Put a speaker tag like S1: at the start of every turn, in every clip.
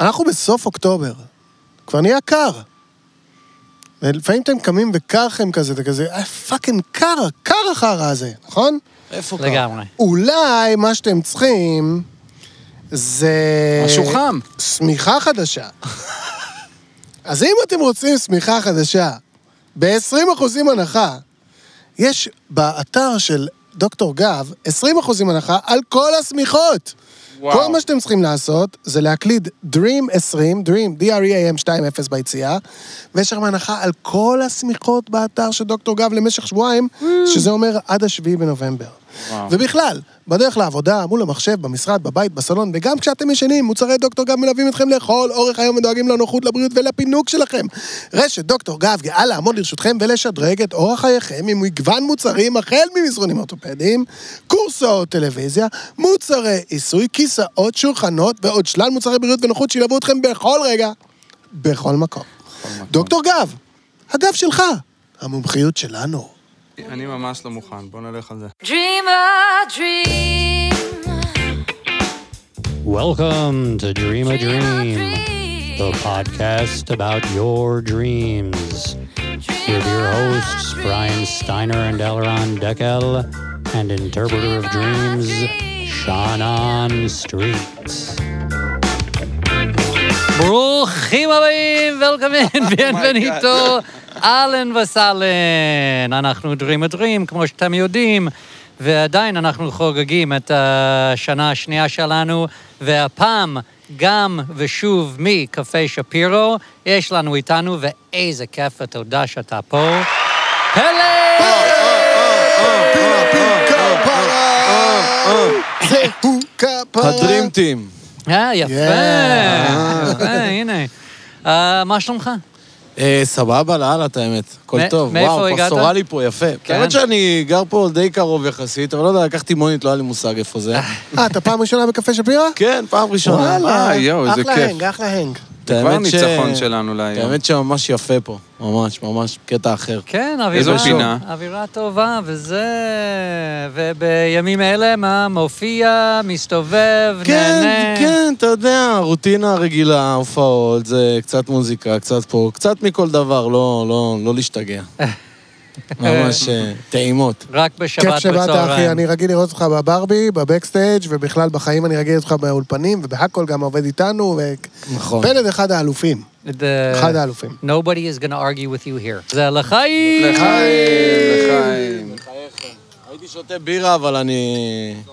S1: אנחנו בסוף אוקטובר. כבר נהיה קר. ולפעמים אתם קמים וקר לכם כזה, אתה כזה, אה, פאקינג קר, קר החרא הזה, נכון?
S2: איפה קרה?
S3: לגמרי.
S1: אולי מה שאתם צריכים זה...
S2: משהו חם.
S1: שמיכה חדשה. אז אם אתם רוצים שמיכה חדשה, ב-20% הנחה, יש באתר של דוקטור גב 20% הנחה על כל השמיכות.
S2: וואו.
S1: כל מה שאתם צריכים לעשות זה להקליד Dream 20, Dream, E D-R-E-A-M 2-0 ביציאה, ויש שם הנחה על כל השמיכות באתר של דוקטור גב למשך שבועיים,
S2: Mm.
S1: שזה אומר עד השביעי בנובמבר.
S2: וואו.
S1: ובכלל, בדרך לעבודה, מול המחשב, במשרד, בבית, בסלון, וגם כשאתם ישנים, מוצרי דוקטור גב מלווים אתכם לכל אורך היום ודואגים לנוחות, לבריאות ולפינוק שלכם. רשת דוקטור גב גאה לעמוד לרשותכם ולשדרג את אורח חייכם עם מגוון מוצרים, החל ממזרונים אורתופדיים, קורסאות טלוויזיה, מוצרי עיסוי, כיסאות, שולחנות ועוד שלל מוצרי בריאות ונוחות שילוו אתכם בכל רגע, בכל מקום. דוקטור גב, הגב שלך, המומחיות שלנו.
S2: אני ממש לא מוכן, בוא נלך על זה.
S4: Dream a dream.
S3: Welcome to Dream a
S4: Dream a
S3: Dream, the podcast about your dreams.
S4: Dream
S3: With your
S4: a
S3: hosts,
S4: dream.
S3: Brian Steiner and Elron Deckel, and interpreter of dreams, Shannon Streets. ברוכים הבאים, Welcome in, ביאנבניטו, אהלן וסהלן. אנחנו Dream a Dream, כמו שאתם יודעים, ועדיין אנחנו חוגגים את השנה השנייה שלנו, והפעם גם ושוב מקפה שפירו, יש לנו איתנו, ואיזה כיף ותודה שאתה פה. פלא!
S1: פינה פין כפרה, זהו כפרה.
S5: הדרים טים.
S3: אה, יפה,
S1: Yeah.
S3: יפה, הנה. אה, מה שלומך?
S5: אה, סבבה לאללה, את האמת. הכל
S3: מא-
S5: טוב.
S3: מאיפה
S5: וואו,
S3: הגעת?
S5: פסטורלי פה, יפה.
S3: כן.
S5: האמת שאני גר פה די קרוב יחסית, אבל לא יודע, לקחתי מונית, לא היה לי מושג איפה זה.
S1: אה, אתה פעם ראשונה בקפה שפירא?
S5: כן, פעם ראשונה.
S2: אה, יואו, איזה
S1: אחלה
S2: כיף.
S1: הנג, אחלה הנג.
S5: את האמת
S2: כבר
S5: ש-
S2: הניצחון שלנו
S5: את
S2: להיום.
S5: האמת שממש יפה פה. ממש, ממש קטע אחר.
S3: כן,
S2: איזו
S3: אווירה,
S2: פינה?
S3: אווירה טובה, וזה... ובימים אלה, מה, מופיע, מסתובב,
S5: כן,
S3: נהנה.
S5: כן, אתה יודע, הרוטינה הרגילה, הופעות, זה קצת מוזיקה, קצת פה, קצת מכל דבר, לא, לא, לא להשתגע. ממש אה, טעימות.
S3: רק בשבת
S1: כיף
S3: בצהריים.
S1: שבאת, אחי, אני רגיל לראות אותך בברבי, בבקסטייג', ובכלל בחיים אני רגיל לראות אותך באולפנים, ובהכל גם עובד איתנו,
S5: נכון.
S1: ופלד אחד האלופים.
S3: The-
S1: אחד האלופים.
S3: אה, Nobody is gonna argue with you here. זה לחיים!
S2: לחיים, לחיים.
S5: הייתי שותה בירה, אבל אני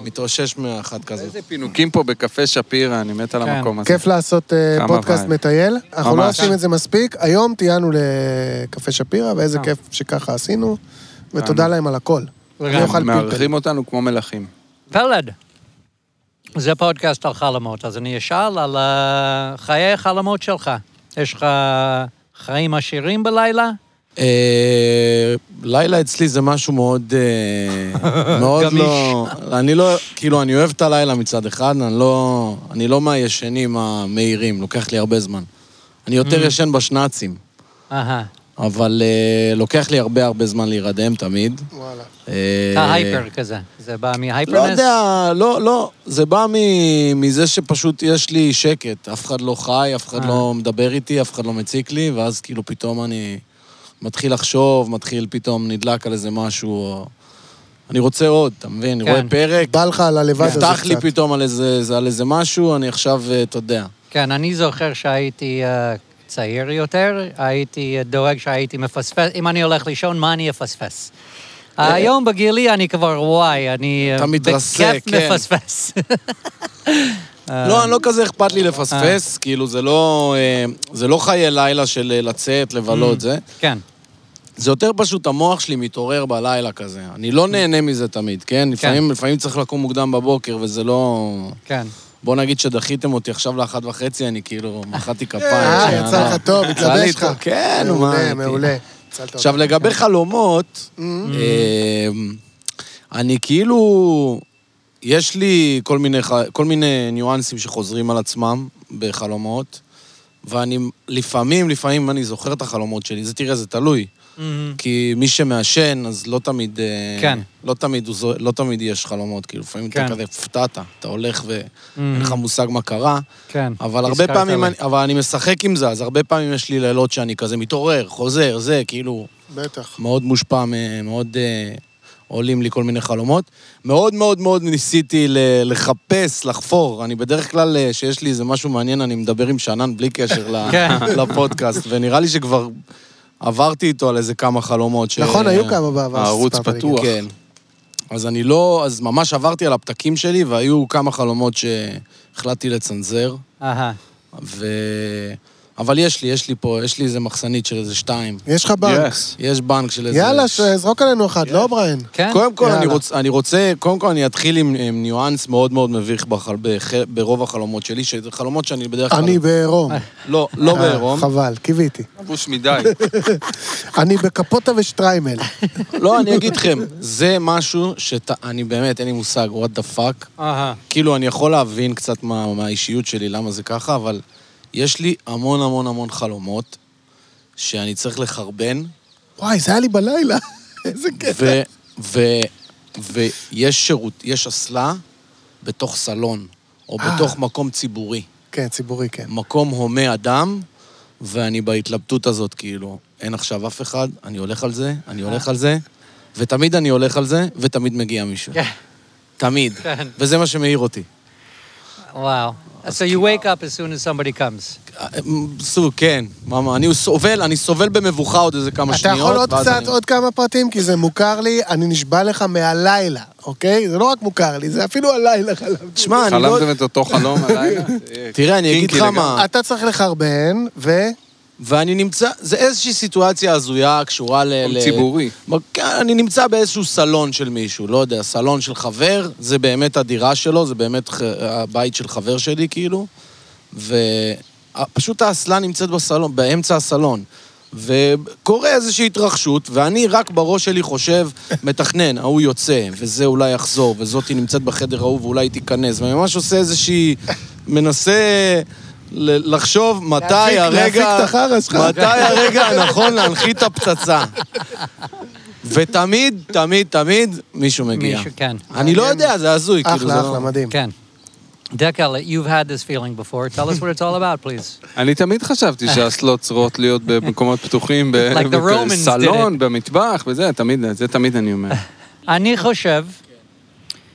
S5: מתאושש מאחת כזאת.
S2: איזה פינוקים פה בקפה שפירא, אני מת על
S3: כן.
S2: המקום הזה.
S1: כיף לעשות אה,
S2: כמה
S1: פודקאסט
S2: וייב.
S1: מטייל. אנחנו לא
S2: ממש.
S1: עושים את זה מספיק. היום טיענו לקפה שפירא, ואיזה כיף שככה עשינו, ותודה להם על הכל.
S3: כן.
S1: אני אוכל פלפל.
S2: מארחים אותנו כמו מלכים.
S3: פלד, זה פודקאסט על חלומות, אז אני אשאל על אה, חיי החלומות שלך. יש לך חיים עשירים בלילה?
S5: אה, לילה אצלי זה משהו מאוד... אה, מאוד
S3: גמיש.
S5: לא... אני לא... כאילו, אני אוהב את הלילה מצד אחד, אני לא... אני לא מהישנים המהירים, לוקח לי הרבה זמן. אני
S3: Mm.
S5: יותר ישן בשנ"צים,
S3: אהה.
S5: אבל אה, לוקח לי הרבה הרבה זמן להירדם תמיד.
S1: וואלה.
S5: אה,
S3: אתה הייפר כזה. זה בא
S5: לא
S3: מהייפרנס?
S5: יודע, לא, לא. זה בא מ... מזה שפשוט יש לי שקט. אף אחד לא חי, אף אחד
S3: אה.
S5: לא מדבר איתי, אף אחד לא מציק לי, ואז כאילו פתאום אני מתחיל לחשוב, מתחיל פתאום נדלק על איזה משהו. או... אני רוצה עוד, אתה מבין? אני
S3: כן.
S5: רואה פרק,
S1: בא לך על הלבד הזה קצת.
S5: נפתח לי פתאום על איזה, זה- על איזה משהו, אני עכשיו, אה, אתה יודע.
S3: כן, אני זוכר שהייתי אה, צעיר יותר, הייתי אה, דואג שהייתי מפספס, אם אני הולך לישון, מה אני אפספס? היום בגילי אני כבר, וואי, אני אה,
S5: אתה מתרסק,
S3: בכיף
S5: כן.
S3: מפספס. אה.
S5: לא, אני לא כזה אכפת לי לפספס, כאילו, זה לא, אה, זה לא חיי לילה של אה, לצאת, לבלות, זה.
S3: כן,
S5: זה יותר פשוט המוח שלי מתעורר בלילה כזה. אני לא נהנה מזה תמיד, כן? לפעמים, לפעמים צריך לקום מוקדם בבוקר, וזה לא...
S3: כן.
S5: בוא נגיד שדחיתם אותי עכשיו לאחת וחצי, אני כאילו מחאתי כפיים.
S1: אה,
S5: שנייה,
S1: יצא
S5: לא.
S1: לך טוב,
S5: יצא לי
S1: התלבש לך.
S5: טוב, כן, נו, מה.
S1: מעולה,
S5: הייתי-
S1: מעולה. הצלת
S5: עכשיו,
S1: אותי.
S5: לגבי חלומות, אה, אני כאילו... יש לי כל מיני, ח- כל מיני ניואנסים שחוזרים על עצמם בחלומות, ואני לפעמים, לפעמים אני זוכר את החלומות שלי, זה תראה, זה תלוי.
S3: מהמם.
S5: כי מי שמעשן, אז לא תמיד... אה,
S3: Mm-hmm. כן.
S5: לא תמיד, הוא זו- לא תמיד יש חלומות, כאילו, לפעמים
S3: כן. Mm-hmm.
S5: אתה כזה פתעת, אתה הולך ואין לך מושג מה קרה.
S3: כן.
S5: אבל הרבה
S3: הזכרת
S5: פעמים,
S3: לי.
S5: אני, אבל אני משחק עם זה, אז הרבה פעמים יש לי לילות שאני כזה מתעורר, חוזר, זה, כאילו,
S1: בטח.
S5: מאוד מושפע, מ- מאוד אה, עולים לי כל מיני חלומות. מאוד מאוד מאוד ניסיתי ל- לחפש, לחפור. אני בדרך כלל, אה, שיש לי איזה משהו מעניין, אני מדבר עם שאנן בלי קשר ל-
S3: כן.
S5: לפודקאסט, ונראה לי שכבר עברתי איתו על איזה כמה חלומות. ש-
S1: נכון, היו כמה בעבר.
S2: הערוץ
S1: שסיפרת לי.
S2: פתוח.
S5: כן. אז אני לא, אז ממש עברתי על הפתקים שלי, והיו כמה חלומות שהחלטתי לצנזר.
S3: אהה.
S5: ו... אבל יש לי, יש לי פה, יש לי איזה מחסנית של איזה שתיים.
S1: יש לך בנק.
S2: Yes.
S5: יש בנק של איזה...
S1: יאללה, ש- זרוק עלינו אחת, לא בריין?
S3: כן?
S5: קודם כל, אני
S1: יאללה.
S5: רוצה, אני רוצה, קודם כל אני אתחיל עם, עם ניואנס מאוד מאוד מביך בחל, בח, ברוב החלומות שלי, שזה חלומות שאני בדרך כלל...
S1: אני בעירום.
S5: לא, לא בעירום.
S1: חבל, קיוויתי.
S2: לבוש מדי.
S1: אני בקפוטה ושטריימל.
S5: לא, אני אגיד לכם, זה משהו שאתה... אני באמת, אין לי מושג, what the fuck.
S3: אהה.
S5: כאילו, אני יכול להבין קצת מה, מהאישיות שלי, למה זה ככה, אבל יש לי המון המון המון חלומות שאני צריך לחרבן,
S1: וואי, זה היה לי בלילה. איזה כיף.
S5: ו... ו... ויש שירות, יש אסלה בתוך סלון, או
S1: אה.
S5: בתוך מקום ציבורי.
S1: כן, ציבורי, כן.
S5: מקום הומה אדם, ואני בהתלבטות הזאת, כאילו, אין עכשיו אף אחד, אני הולך על זה,
S1: אה.
S5: אני הולך על זה, ותמיד אני הולך על זה, ותמיד מגיע מישהו.
S3: כן.
S5: תמיד.
S3: כן.
S5: וזה מה שמעיר אותי.
S3: Wow. So you wake up as soon as somebody comes.
S5: אה, סוג, כן, ממש, אני סובל, אני סובל במבוכה עוד איזה כמה
S1: אתה
S5: שניות.
S1: יכול עוד
S5: ואז
S1: קצת,
S5: אני-
S1: עוד כמה פרטים, כי זה מוכר לי, אני נשבע לך מהלילה, אוקיי? זה לא רק מוכר לי, זה אפילו הלילה חלמתי.
S5: שמע, אני לא...
S2: חלמתם את אותו חלום הלילה? זה
S5: תראה, אני אגיד
S2: קינקי
S5: לך
S2: לגמרי.
S5: מה,
S1: אתה צריך לחרבן, ו...
S5: ואני נמצא, זה איזושהי סיטואציה הזויה קשורה ל...
S2: מקום
S5: ל-
S2: ציבורי.
S5: מ- כן, אני נמצא באיזשהו סלון של מישהו, לא יודע, סלון של חבר, זה באמת הדירה שלו, זה באמת ח- הבית של חבר שלי, כאילו, ופשוט האסלה נמצאת בסלון, באמצע הסלון. וקורה איזושהי התרחשות, ואני רק בראש שלי חושב, מתכנן, ההוא יוצא, וזה אולי יחזור, וזאתי נמצאת בחדר ההוא ואולי תיכנס, ואני ממש עושה איזושהי... מנסה ל- לחשוב מתי
S1: להפיק-
S5: הרגע...
S1: להפיק את החרא שלך.
S5: מתי הרגע הנכון להנחית את הפצצה. ותמיד, תמיד, תמיד, מישהו מגיע.
S3: מישהו, כן.
S5: אני לא יודע, זה הזוי, כאילו, זה
S1: אחלה,
S5: לא-
S1: אחלה, מדהים.
S3: Ken, Dick Elliott, you've had this feeling before. Tell us what it's all about, please.
S2: אני תמיד חשבתי שהאסלות צריכות להיות במקומות פתוחים, ב-
S3: Like the Romans did
S2: בסלון, במטבח, וזה, תמיד, זה תמיד אני אומר.
S3: אני חושב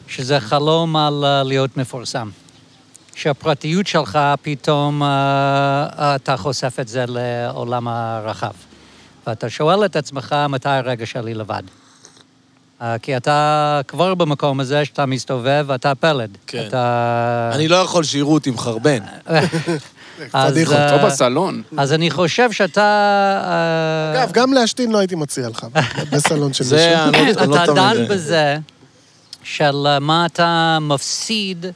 S3: שזה חלום על אה, להיות מפורסם. שהפרטיות שלך, פתאום אה, אתה חושף את זה לעולם הרחב. ואתה שואל את עצמך, מתי הרגע שלי לבד? אה, כי אתה כבר במקום הזה שאתה מסתובב ואתה פלד.
S5: כן.
S3: אתה...
S5: אני לא יכול שיראו אותי מחרבן.
S3: אז,
S1: פדיחות.
S3: אה,
S2: לא בסלון.
S3: אז אני חושב שאתה... אה,
S1: אגב, גם להשתין לא הייתי מציע לך, בסלון של מישהו.
S5: זה, אני לא- אני לא
S3: אתה דן
S5: תמיד...
S3: בזה של אה, מה אתה מפסיד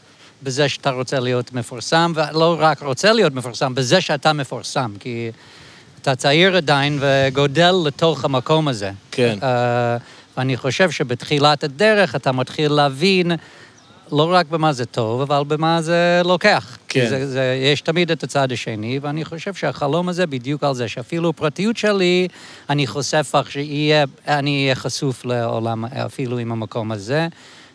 S3: בזה שאתה רוצה להיות מפורסם, ולא רק רוצה להיות מפורסם, בזה שאתה מפורסם, כי אתה צעיר עדיין וגודל לתוך המקום הזה.
S5: כן.
S3: אה, ואני חושב שבתחילת הדרך אתה מתחיל להבין לא רק במה זה טוב, אבל במה זה לוקח.
S5: כן.
S3: כי זה, זה, יש תמיד את הצד השני, ואני חושב שהחלום הזה בדיוק על זה, שאפילו פרטיות שלי, אני חושף לך שיהיה, אני אהיה חשוף לעולם, אפילו עם המקום הזה.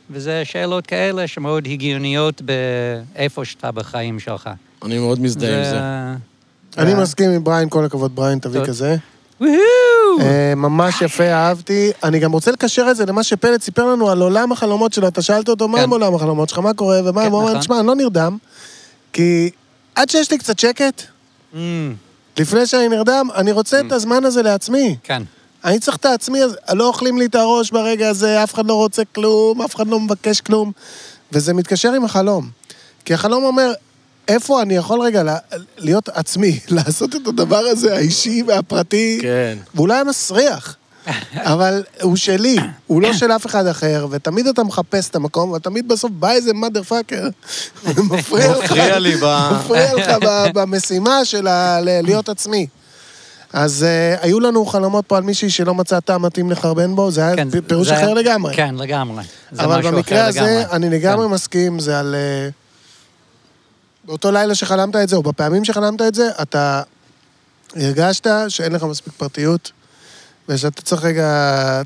S3: וזה שאלות כאלה שמאוד הגיוניות באיפה שאתה בחיים שלך.
S5: אני מאוד מזדהה עם זה.
S1: אני מסכים עם בריין, כל הכבוד, בריין, תביא
S3: אה. טוב.
S1: כזה.
S3: וואו!
S1: אה, ממש יפה, אהבתי. אני גם רוצה לקשר את זה למה שפלד סיפר לנו על עולם החלומות שלו. אתה שאלת אותו, מה
S3: כן.
S1: עם עולם החלומות שלך, מה קורה, ומה
S3: כן,
S1: הם אומרים,
S3: נכון.
S1: תשמע, אני לא נרדם, כי עד שיש לי קצת שקט,
S3: אמ,
S1: לפני שאני נרדם, אני רוצה
S3: Mm.
S1: את הזמן הזה לעצמי.
S3: כן.
S1: אני צריך את העצמי, אז לא אוכלים לי את הראש ברגע הזה, אף אחד לא רוצה כלום, אף אחד לא מבקש כלום. וזה מתקשר עם החלום. כי החלום אומר, איפה אני יכול רגע לה- להיות עצמי, לעשות את הדבר הזה, האישי והפרטי,
S5: כן.
S1: ואולי המסריח, אבל הוא שלי, הוא לא של אף אחד אחר, ותמיד אתה מחפש את המקום, ותמיד בסוף בא איזה מאדר פאקר, ומפריע לך.
S5: מפריע לי ב...
S1: מפריע לך ב- במשימה של ה- ל- להיות עצמי. אז אה, היו לנו חלומות פה על מישהי שלא מצא טעם מתאים לחרבן בו, זה היה
S3: כן,
S1: פ- אה, פירוש
S3: זה-
S1: אחר לגמרי.
S3: כן, לגמרי. זה
S1: אבל
S3: משהו אחר
S1: במקרה הזה,
S3: לגמרי. כן.
S1: אני לגמרי מסכים, זה על... אה, באותו לילה שחלמת את זה, או בפעמים שחלמת את זה, אתה הרגשת שאין לך מספיק פרטיות, ושאתה צריך רגע...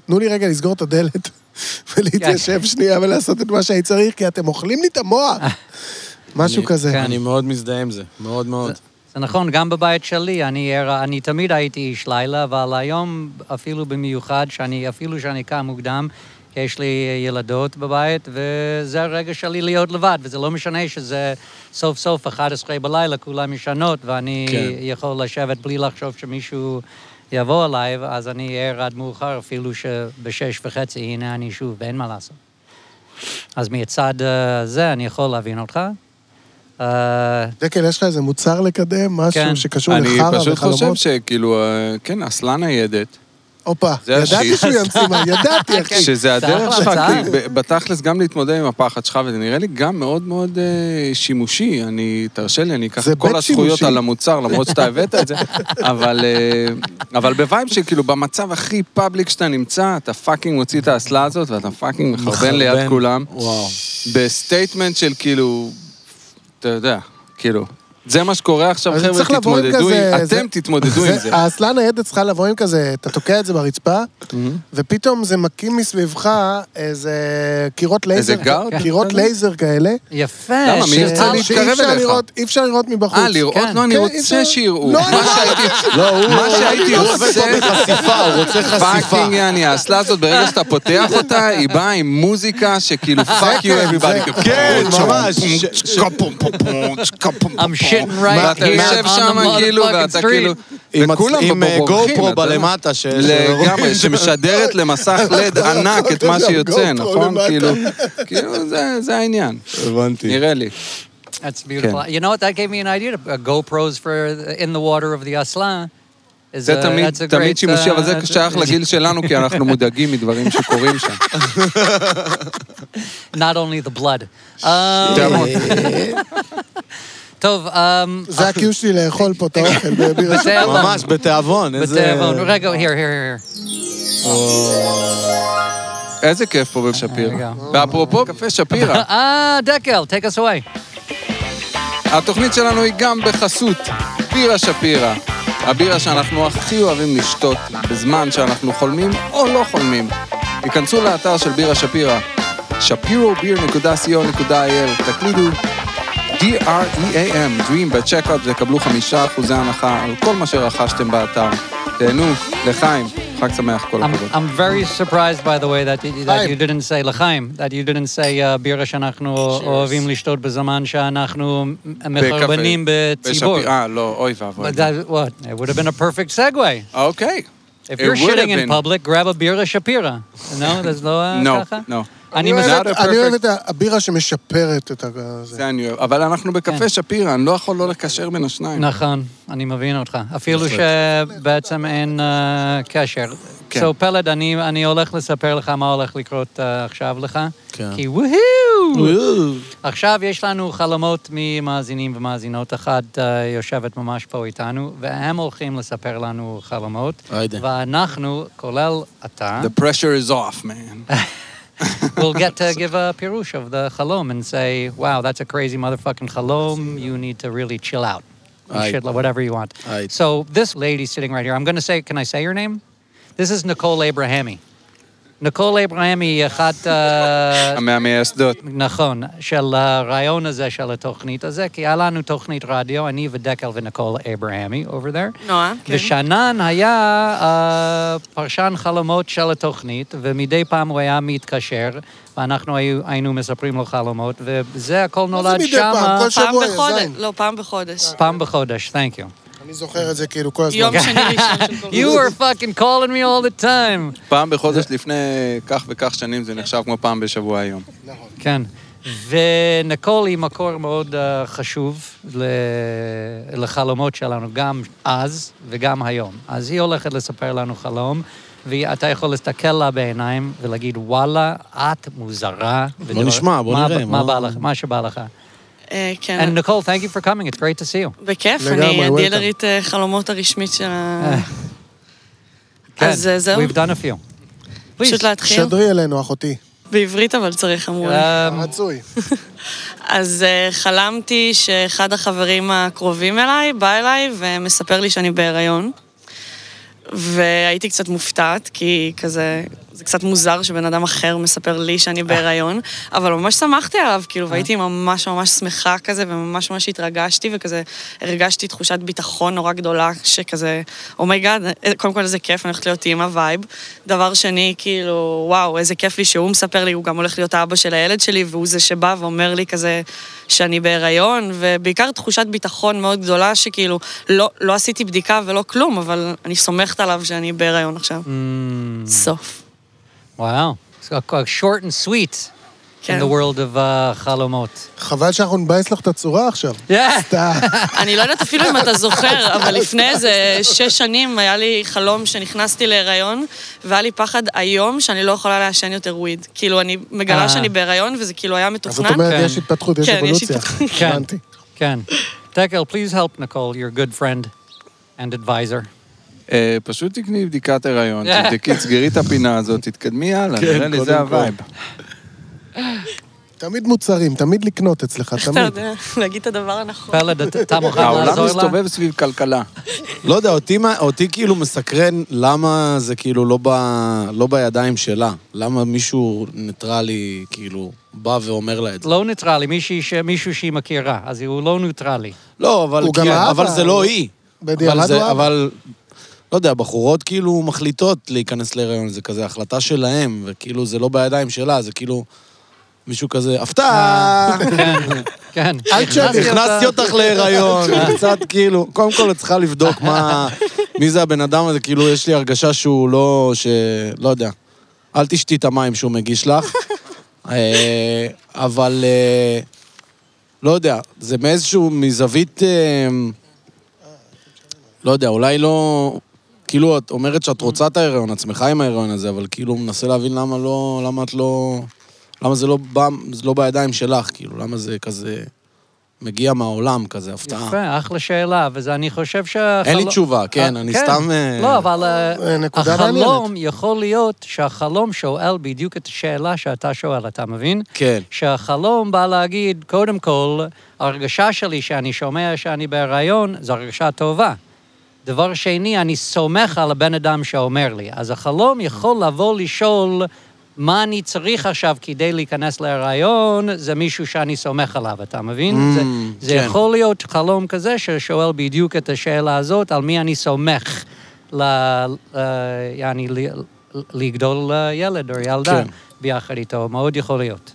S1: תנו לי רגע לסגור את הדלת
S3: כן.
S1: ולהתיישב שנייה ולעשות את מה שאני צריך, כי אתם אוכלים לי את המוח. משהו
S5: אני-
S3: כן,
S1: כזה.
S5: אני מאוד מזדהה עם זה, מאוד מאוד.
S3: זה נכון, גם בבית שלי, אני, ערה- אני תמיד הייתי איש לילה, אבל היום אפילו במיוחד, שאני, אפילו שאני קם מוקדם, יש לי ילדות בבית, וזה הרגע שלי להיות לבד, וזה לא משנה שזה סוף סוף 11 בלילה, כולם ישנות, ואני
S5: כן.
S3: כן. יכול לשבת בלי לחשוב שמישהו יבוא אליי, אז אני ער עד מאוחר, אפילו שבשש וחצי, הנה אני שוב, ואין מה לעשות. אז מצד אה, זה אני יכול להבין אותך. אה,
S1: דקל, יש לך איזה מוצר לקדם? משהו
S3: כן.
S1: שקשור
S2: אני
S1: לחרא
S2: פשוט חושב
S1: וחלומות?
S2: שכאילו, אה, כן, אסלה ניידת,
S1: הופה,
S2: זה
S1: ידעתי
S2: השיט.
S1: שהוא ימציא מה, ידעתי, אחי.
S2: שזה
S3: זה
S2: הדרך
S3: אחלה
S2: שלך,
S3: הצעה.
S2: כי ב- בתכלס גם להתמודד עם הפחד שלך, וזה נראה לי גם מאוד מאוד אה, שימושי. אני, תרשה לי, אני אקח
S1: זה
S2: את כל
S1: בית
S2: הזכויות
S1: שימושי.
S2: על המוצר, למרות שאתה הבאת את זה, אבל, אה, אבל בווייב שכאילו במצב הכי פאבליק שאתה נמצא, אתה פאקינג מוציא את האסלה הזאת, ואתה פאקינג מחרבן ליד
S5: מחרבן.
S2: כולם,
S5: וואו.
S2: בסטייטמנט של כאילו, אתה יודע, כאילו. זה מה שקורה עכשיו,
S1: אז צריך
S2: חבר'ה,
S1: לבוא עם
S2: תתמודדו,
S1: כזה-
S2: עם-
S1: זה-
S2: אתם תתמודדו עם זה. Mm-hmm.
S1: האסלה ניידת צריכה לבוא עם כזה, אתה תוקע את זה ברצפה, ופתאום זה מקים מסביבך איזה קירות לייזר.
S2: איזה גארד?
S6: כן.
S1: קירות לייזר כאלה.
S3: יפה.
S2: למה? מי
S3: שירה.
S2: ירצה להתקרב
S1: שאי אפשר
S2: אליך?
S1: לראות- אי אפשר לראות מבחוץ.
S2: אה, לראות?
S3: כן.
S2: לא, אני
S1: כן,
S2: רוצה
S1: אפשר.
S2: שיראו.
S1: לא,
S2: מה
S1: לא.
S2: שהייתי-
S7: לא, הוא
S2: מה
S7: הוא-
S2: שהייתי
S7: הוא עובד פה
S2: עושה-
S7: בחשיפה, הוא רוצה חשיפה.
S2: פאקינג יעני, האסלה הזאת, ברגע שאתה פותח אותה, היא באה עם מוזיקה שכאילו פאק יו אביבאדי.
S7: כן, ממש.
S3: I'm shitting right
S2: ואתה
S3: here
S2: יושב
S3: on
S2: שם
S3: the
S2: כאילו,
S3: motherfucking
S2: ואתה כאילו...
S3: street.
S7: עם
S2: וכולם
S7: הצ- עם, אה,
S2: בורחים,
S7: GoPro
S2: אתה יודע.
S7: בלמטה ש-
S2: לגמרי, שמשדרת למסך לד ענק את מה שיוצא,
S1: GoPro
S2: נכון?
S1: למטה.
S2: כאילו, כאילו, זה- זה העניין,
S7: הבנתי.
S2: נראה לי.
S3: That's beautiful. You know what? That gave me an idea. to- Uh, GoPros for the, in the water of the Aslan. Is
S2: זה
S3: a-
S2: תמיד,
S3: Uh, that's a
S2: תמיד
S3: great,
S2: שימושי, אבל זה
S3: uh,
S2: שייך לגיל שלנו, כי אנחנו מודאגים מדברים שקורים שם.
S3: Not only the blood. Um,
S2: תאמות.
S3: טוב, um,
S2: אה,
S1: זה הקיו שלי לאכול פה את
S2: כן.
S1: האוכל בבירה.
S3: בתיאבון.
S7: ממש, בתיאבון,
S5: uh,
S7: איזה...
S3: בתיאבון. רגע, here, here, here.
S2: איזה כיף פה בשפירא. ואפרופו קפה שפירא,
S3: Ah, Dekel, take us away.
S2: התוכנית שלנו היא גם בחסות בירה שפירא. הבירה שאנחנו הכי אוהבים לשתות בזמן שאנחנו חולמים או לא חולמים. היכנסו לאתר של בירה שפירא, shapirobיר.co.il, תקלידו D-R-E-A-M, Dream בצ'קאפ, ותקבלו חמישה אחוזי הנחה על כל מה שרכשתם באתר. תהנו, לחיים, חג שמח, כל
S3: I'm,
S2: הכבוד.
S3: I'm very surprised, by the way, that, you- that you didn't say לחיים, that you didn't say uh, בירה שאנחנו אוהבים לשתות בזמן שאנחנו מחרבנים בציבור.
S2: בשפיר- אה, לא, אוי ואבוי.
S3: But that, what? It would have been a perfect segue.
S2: אוקיי.
S3: If
S2: It
S3: you're
S2: would have
S3: shitting in
S2: been.
S3: public, grab a beer of Shapira. No, there's no... uh,
S2: No,
S3: ככה?
S2: no.
S3: אני
S1: אני
S3: מזהה...
S1: אוהב
S2: not
S1: את-
S2: a
S1: אני אוהב
S2: perfect-
S1: את הבירה שמשפרת את ה... זה.
S2: זה אני אוהב. אבל אנחנו בקפה
S3: כן.
S2: שפירא, אני לא יכול לא לקשר בין השניים.
S3: נכון, אני מבין אותך. אפילו
S2: נכון.
S3: שבעצם אין אה, קשר.
S2: כן.
S3: So, פלד, אני אני הולך לספר לך מה הולך לקרות אה, עכשיו לך.
S5: כן.
S3: כי וואו! עכשיו יש לנו חלומות ממאזינים ומאזינות. אחת אה, יושבת ממש פה איתנו, והם הולכים לספר לנו חלומות.
S5: היידה.
S3: ואנחנו, כולל אתה...
S2: The pressure is off, man.
S3: we'll get to give a pirush of the halom and say, wow, that's a crazy motherfucking halom. You need to really chill out. You
S5: Aight.
S3: should, whatever you want.
S5: Aight.
S3: So this lady sitting right here, I'm going to say, can I say your name? This is Nicole Abrahami. Nicole Abrahami uh, היא אחת... אה,
S2: המהמייסדות.
S3: נכון, של הרעיון הזה, של התוכנית הזה, כי היה לנו תוכנית רדיו, אני ודקל וניקול אברהמי, over there.
S6: נועה, כן.
S3: ושאנן היה אה, פרשן חלומות של התוכנית, ומדי פעם הוא היה מתקשר, ואנחנו היו, היינו מספרים לו חלומות, וזה
S1: מה
S3: הכל
S1: זה
S3: נולד
S1: מדי פעם?
S3: שמה,
S1: כל
S6: פעם
S1: שבוע,
S6: בחודש.
S1: זין.
S6: לא, פעם בחודש.
S3: פעם בחודש, thank you.
S1: אני זוכר את זה כאילו כל הזמן.
S6: יום שני ראשון של כל
S3: You were fucking calling me all the time.
S2: פעם בחודש לפני כך וכך שנים זה נחשב כמו פעם בשבוע היום.
S3: כן. וניקול היא מקור מאוד אה, חשוב ל- לחלומות שלנו, גם אז וגם היום. אז היא הולכת לספר לנו חלום, ואתה יכול להסתכל לה בעיניים ולהגיד, וואלה, את מוזרה. בוא
S5: נשמע, בוא נראה,
S3: מה
S5: מה-
S3: בא לך, מה שבא לך.
S6: אה, כן,
S3: And Nicole, thank you for coming, it's great to see you.
S6: בכיף,
S1: לגמרי,
S6: אני
S1: welcome.
S6: הדילרית אה, חלומות הרשמית של ה... אז
S3: כן,
S6: אה, זהו,
S3: We've done a few.
S6: פשוט להתחיל.
S1: שדרי אלינו, אחותי.
S6: בעברית אבל צריך, אמרו לי.
S3: Um,
S1: רצוי.
S6: אז אה, חלמתי שאחד החברים הקרובים אליי בא אליי ומספר לי שאני בהיריון. והייתי קצת מופתעת, כי כזה, זה קצת מוזר שבן אדם אחר מספר לי שאני בהיריון, אבל ממש שמחתי עליו, כאילו, והייתי ממש ממש שמחה כזה, וממש ממש התרגשתי, וכזה הרגשתי תחושת ביטחון נורא גדולה, שכזה, "Oh אומייגאד, אה, קודם כל איזה כיף, אני הולכת להיות אימא וייב. דבר שני, כאילו, וואו, איזה כיף לי שהוא מספר לי, הוא גם הולך להיות האבא של הילד שלי, והוא זה שבא ואומר לי כזה שאני בהיריון, ובעיקר תחושת ביטחון מאוד גדולה, שכאילו, לא, לא עשיתי בדיקה ולא כלום, אבל אני סומכת עליו שאני בהיריון עכשיו. סוף.
S3: וואו. It's got- got short and sweet in
S6: כן.
S3: the world of uh, חלומות.
S1: חבל שאנחנו נבאס לך את הצורה עכשיו.
S3: Yeah.
S1: סתם.
S6: אני לא יודעת אפילו אם אתה זוכר, אבל לפני איזה שש שנים היה לי חלום שנכנסתי להיריון, והיה לי פחד איום שאני לא יכולה לעשן יותר וויד. כאילו, אני
S3: אה.
S6: מגלה שאני בהיריון, וזה כאילו היה מתוכנן.
S1: אז זאת אומרת,
S3: כן.
S1: יש התפתחות, יש
S6: כן, יש
S1: אבולוציה.
S6: התפתחות.
S3: כן.
S1: הבנתי.
S3: כן. דקל, please help Nicole, your good friend and advisor.
S2: אה, פשוט תקני בדיקת הריון,
S3: Yeah.
S2: תבדקי, תסגרי את הפינה הזאת, תתקדמי הלאה, נראה לי זה הווייב.
S1: תמיד מוצרים, תמיד לקנות אצלך,
S6: איך אתה
S1: תמיד.
S6: יודע להגיד את הדבר הנכון?
S3: פלד, אתה- אתה מוכן
S2: העולם
S3: לעזור לה?
S2: מסתובב סביב כלכלה.
S5: לא יודע, אותי, מה- אותי כאילו מסקרן למה זה כאילו לא, ב, לא בידיים שלה. למה מישהו ניטרלי כאילו בא ואומר לה את זה.
S3: לא ניטרלי, מישהי ש- מישהו שהיא מכירה, אז הוא לא ניטרלי.
S5: לא, אבל,
S1: הוא גם
S5: כאילו-
S1: האבא,
S5: אבל זה
S1: הוא-
S5: לא היא.
S1: בדיעבד
S5: אבל,
S1: הוא
S5: זה,
S1: האבא.
S5: אבל, לא יודע, בחורות כאילו מחליטות להיכנס להיריון, זה כזה החלטה שלהם, וכאילו זה לא בידיים שלה, זה כאילו מישהו כזה, הפתעה!
S3: כן.
S1: אה. אל תשאלי.
S5: הכנסתי אותך להיריון, קצת כאילו, קודם כל את צריכה לבדוק מה, מי זה הבן אדם הזה, כאילו יש לי הרגשה שהוא לא, ש... לא יודע. אל תשתי את המים שהוא מגיש לך, אה, אבל אה, לא יודע, זה מאיזשהו, מזווית, אה, לא יודע, אולי לא... כאילו, את אומרת שאת רוצה את ההיריון, את שמחה עם ההיריון הזה, אבל כאילו, מנסה להבין למה לא, למה את לא... למה זה לא בא, זה לא בידיים שלך, כאילו, למה זה כזה מגיע מהעולם, כזה הפתעה.
S3: יפה, אחלה שאלה, וזה אני חושב שהחלום...
S5: אין לי תשובה, כן,
S3: אה,
S5: אני סתם, אה,
S3: לא, אבל אה,
S1: אה, נקודה
S3: החלום יכול להיות שהחלום שואל בדיוק את השאלה שאתה שואל, אתה מבין?
S5: כן.
S3: שהחלום בא להגיד, קודם כל, הרגשה שלי שאני שומע שאני בהיריון, זו הרגשה טובה. דבר שני, אני סומך על הבן אדם שאומר לי. אז החלום יכול לבוא לשאול מה אני צריך עכשיו כדי להיכנס להיריון, זה מישהו שאני סומך עליו, אתה מבין? Mm, זה, זה
S5: כן.
S3: יכול להיות חלום כזה ששואל בדיוק את השאלה הזאת, על מי אני סומך ל... ל- יעני, ל- לגדול אה, ילד או ילדה
S5: כן.
S3: ביחד איתו, מאוד יכול להיות.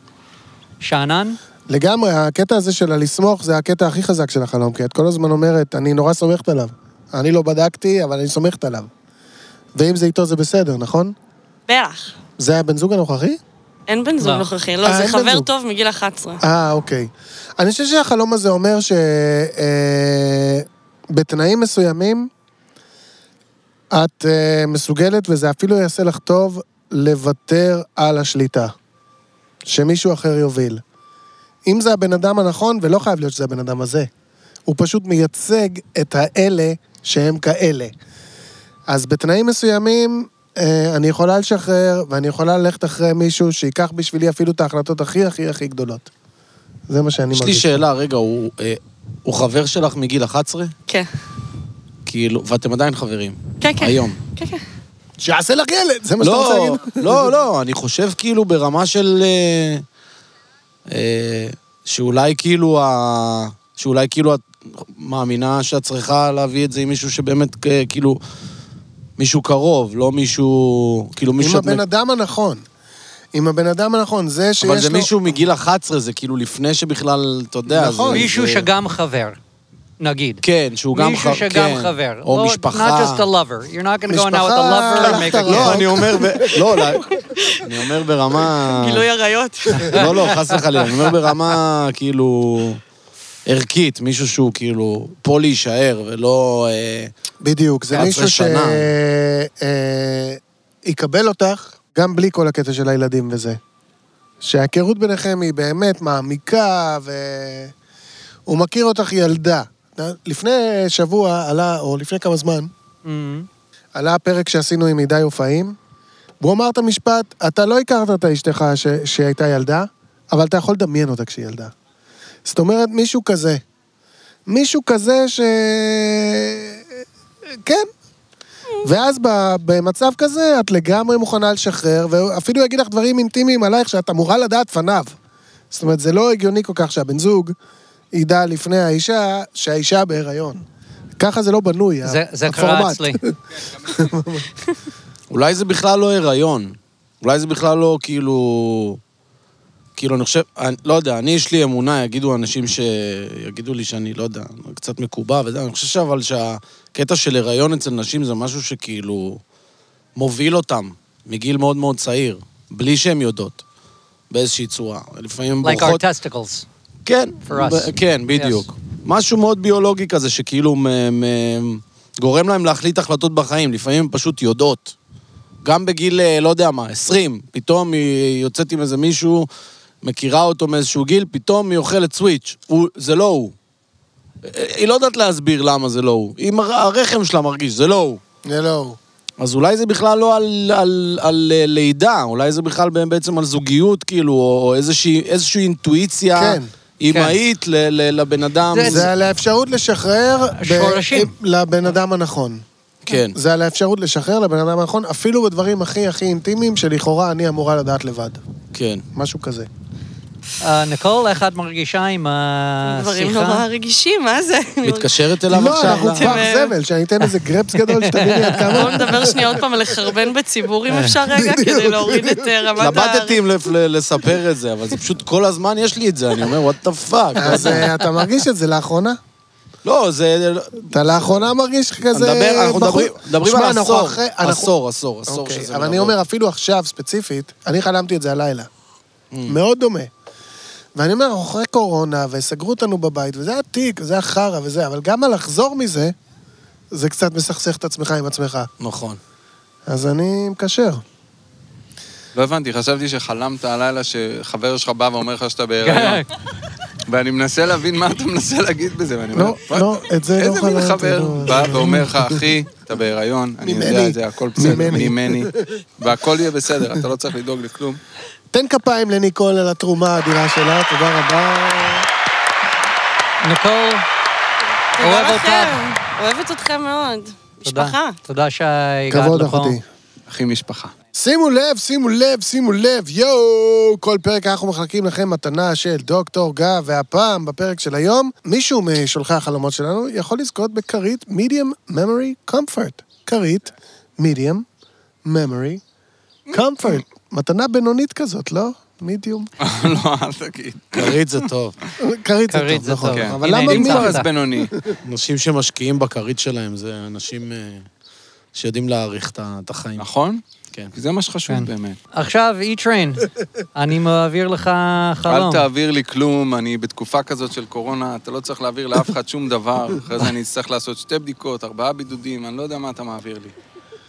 S3: שאנן?
S1: לגמרי, הקטע הזה של הלסמוך זה הקטע הכי חזק של החלום, כי את כל הזמן אומרת, אני נורא סומכת עליו. אני לא בדקתי, אבל אני סומכת עליו. ואם זה איתו זה בסדר, נכון?
S6: בטח.
S1: זה הבן זוג הנוכחי?
S6: אין בן זוג
S3: לא.
S6: נוכחי,
S1: אה,
S6: לא, זה
S1: אין בן
S6: חבר
S1: זוג.
S6: טוב מגיל 11.
S1: אה, אוקיי. אני חושב שהחלום הזה אומר שבתנאים מסוימים את אה, מסוגלת, וזה אפילו יעשה לך טוב, לוותר על השליטה. שמישהו אחר יוביל. אם זה הבן אדם הנכון, ולא חייב להיות שזה הבן אדם הזה. הוא פשוט מייצג את האלה שהם כאלה. אז בתנאים מסוימים, אה, אני יכולה לשחרר, ואני יכולה ללכת אחרי מישהו שייקח בשבילי אפילו את ההחלטות הכי הכי הכי גדולות. זה מה שאני
S5: יש
S1: מרגיש.
S5: לי שאלה, רגע, הוא, אה, הוא חבר שלך מגיל 11?
S6: כן.
S5: כאילו, ואתם עדיין חברים.
S6: כן, כן.
S5: היום.
S6: כן, כן.
S1: שיעשה לך ילד, זה מה שאתה רוצה
S5: לא,
S1: להגיד?
S5: לא, לא, אני חושב כאילו ברמה של... אה, אה, שאולי כאילו ה... שאולי כאילו את מאמינה שאת צריכה להביא את זה עם מישהו שבאמת אה, כאילו... מישהו קרוב, לא מישהו... כאילו מישהו...
S1: עם
S5: שאת
S1: הבן אדם הנכון. עם הבן אדם הנכון, זה שיש לו...
S5: אבל זה מישהו מגיל 11, זה כאילו לפני שבכלל, אתה יודע.
S1: נכון.
S5: זה-
S3: מישהו
S5: זה-
S3: שגם חבר, נגיד.
S5: כן, שהוא גם
S3: מישהו
S5: חבר. כן.
S3: שגם חבר.
S5: או
S3: לא- Not
S5: משפחה.
S3: just a lover. You're not going to go now with a
S1: משפחה,
S3: lover and
S1: הלכת
S3: make a
S1: רחוק.
S5: לא,
S3: kid.
S5: אני אומר, ב- לא, לא, אני אומר ברמה...
S6: גילוי עריות.
S1: אה,
S5: לא, לא, חס וחלילה, אני אומר ברמה, כאילו, ערכית, מישהו שהוא כאילו פה להישאר ולא... אה,
S1: בדיוק, זה
S5: 11
S1: מישהו
S5: שנה.
S1: שיקבל אותך גם בלי כל הקטע של הילדים וזה. שההיכרות ביניכם היא באמת מעמיקה, והוא מכיר אותך ילדה. לפני שבוע עלה, או לפני כמה זמן,
S3: Mhm.
S1: עלה הפרק שעשינו עם הידי הופעים, והוא אמר את המשפט, אתה לא הכרת את אשתך ש... שהייתה ילדה, אבל אתה יכול לדמיין אותה כשהיא ילדה. זאת אומרת, מישהו כזה. מישהו כזה ש... כן. ואז ב- במצב כזה, את לגמרי מוכנה לשחרר, ואפילו יגיד לך דברים אינטימיים עלייך שאת אמורה לדעת פניו. זאת אומרת, זה לא הגיוני כל כך שהבן זוג ידע לפני האישה שהאישה בהיריון. ככה זה לא
S5: כן.
S1: בנוי,
S3: זה- זה קרה
S1: הפורמט.
S3: אצלי.
S5: אולי זה בכלל לא הריון. אולי זה בכלל לא כאילו... כאילו, אני חושב, אני, לא יודע, אני יש לי אמונה, יגידו אנשים ש... יגידו לי שאני, לא יודע, קצת מקובע וזה, אני חושב שאבל שהקטע של הריון אצל נשים זה משהו שכאילו מוביל אותם מגיל מאוד מאוד צעיר, בלי שהן יודעות, באיזושהי צורה. לפעמים הן
S3: Like our
S5: בורחות...
S3: testicles.
S5: כן,
S3: For us.
S5: ב- כן, בדיוק. Yes. משהו מאוד ביולוגי כזה, שכאילו מ- מ- גורם להם להחליט החלטות בחיים, לפעמים הן פשוט יודעות. גם בגיל, אה, לא יודע מה, 20, פתאום היא יוצאת עם איזה מישהו, מכירה אותו מאיזשהו גיל, פתאום היא אוכלת סוויץ'. הוא, זה לא הוא. אה, היא לא יודעת להסביר למה זה לא הוא. היא, מר- הרחם שלה מרגיש, זה לא הוא.
S1: זה לא הוא.
S5: אז אולי זה בכלל לא על, על, על אה, לידה, אולי זה בכלל בעצם על זוגיות, כאילו, או, או איזושהי, איזושהי אינטואיציה
S1: כן.
S5: אימהית כן. ל, ל, לבן אדם.
S3: זה-
S1: זה על האפשרות לשחרר... ב-
S3: שורשים.
S1: לבן אדם הנכון.
S5: כן.
S1: זה על האפשרות לשחרר לבן אדם הנכון, אפילו בדברים הכי הכי אינטימיים, שלכאורה אני אמורה לדעת לבד.
S5: כן.
S1: משהו כזה.
S3: אה, ניקול, איך את מרגישה עם uh,
S6: דברים נורא
S3: השיחה?
S6: רגישים, מה זה? אני
S5: מתקשרת אליו
S1: לא,
S5: עכשיו?
S1: אנחנו
S5: לא?
S1: כבר
S6: אתם,
S1: זבל, שאני אתן איזה גרפס גדול שתביני עד
S6: בואו
S1: כמה...
S6: נדבר שנייה עוד פעם על לחרבן בציבור, אם אפשר רגע, כדי להוריד את אה, רמת ה...
S5: התלבטתי אם לפ- ל- לספר את זה, אבל זה פשוט כל הזמן יש לי את זה, אני אומר, וואט דה פאק.
S1: אז אה, אתה מרגיש את זה לאחרונה?
S5: לא, זה...
S1: אתה לאחרונה מרגיש כזה...
S5: נדבר- אנחנו
S1: בחור-
S5: מדברים- מדברים
S1: שמע,
S5: על
S1: אנחנו
S5: עשור,
S1: אחרי- אנחנו-
S5: עשור, עשור, עשור
S1: אוקיי,
S5: שזה... לא-
S1: אבל אני
S5: מדבר.
S1: אומר, אפילו עכשיו, ספציפית, אני חלמתי את זה הלילה.
S2: Mm.
S1: מאוד דומה. ואני אומר, אנחנו אחרי קורונה, וסגרו אותנו בבית, וזה היה תיק, וזה היה חרא וזה, אבל גם הלחזור מזה, זה קצת מסכסך את עצמך עם עצמך.
S5: נכון.
S1: אז אני מקשר.
S2: לא הבנתי, חשבתי שחלמת הלילה שחבר שלך בא ואומר לך שאתה
S3: כן.
S2: בהיריון. ואני מנסה להבין מה אתה מנסה להגיד בזה, ואני אומר,
S1: לא, לא, את זה לא
S2: אה, איזה מין
S1: חלמתי,
S2: חבר
S1: לא.
S2: בא ואומר לך, אחי, אתה בהיריון, אני יודע
S1: ממני.
S2: את זה, הכל בסדר,
S1: ממני."
S2: ממני, והכל יהיה בסדר, אתה לא צריך לדאוג לכלום.
S1: תן כפיים לניקול על התרומה האדירה שלה, תודה רבה.
S3: ניקול, אוהב
S6: תודה
S3: אותך.
S6: לכם, אוהבת אתכם מאוד.
S3: תודה.
S6: משפחה.
S3: תודה שהגעת
S1: כבוד
S3: לפה.
S1: אחותי.
S2: אחי משפחה.
S1: שימו לב, שימו לב, שימו לב, יואו! כל פרק אנחנו מחלקים לכם מתנה של דוקטור גב, והפעם, בפרק של היום, מישהו משולחי החלומות שלנו יכול לזכות בכרית medium memory comfort. כרית medium memory comfort. מתנה בינונית כזאת, לא? מדיום.
S2: לא, אל תגיד.
S5: כרית זה טוב.
S1: כרית זה
S3: כרית
S1: טוב,
S3: זה
S1: נכון.
S3: טוב.
S2: כן.
S1: אבל
S3: הנה,
S1: למה
S3: אני
S2: אם
S3: נמצא.
S1: medium?
S2: כבר אז בינוני.
S5: אנשים שמשקיעים בכרית שלהם זה אנשים אה, שיודעים להעריך את ה- את החיים.
S2: נכון?
S5: כן.
S2: כי זה מה שחשוב באמת.
S3: עכשיו, E-Train, אני מעביר לך
S2: אל
S3: חלום.
S2: תעביר לי כלום, אני בתקופה כזאת של קורונה, אתה לא צריך להעביר לאף אחד שום דבר, אחרי זה אני אצטרך לעשות שתי בדיקות, ארבעה בידודים, אני לא יודע מה אתה מעביר לי.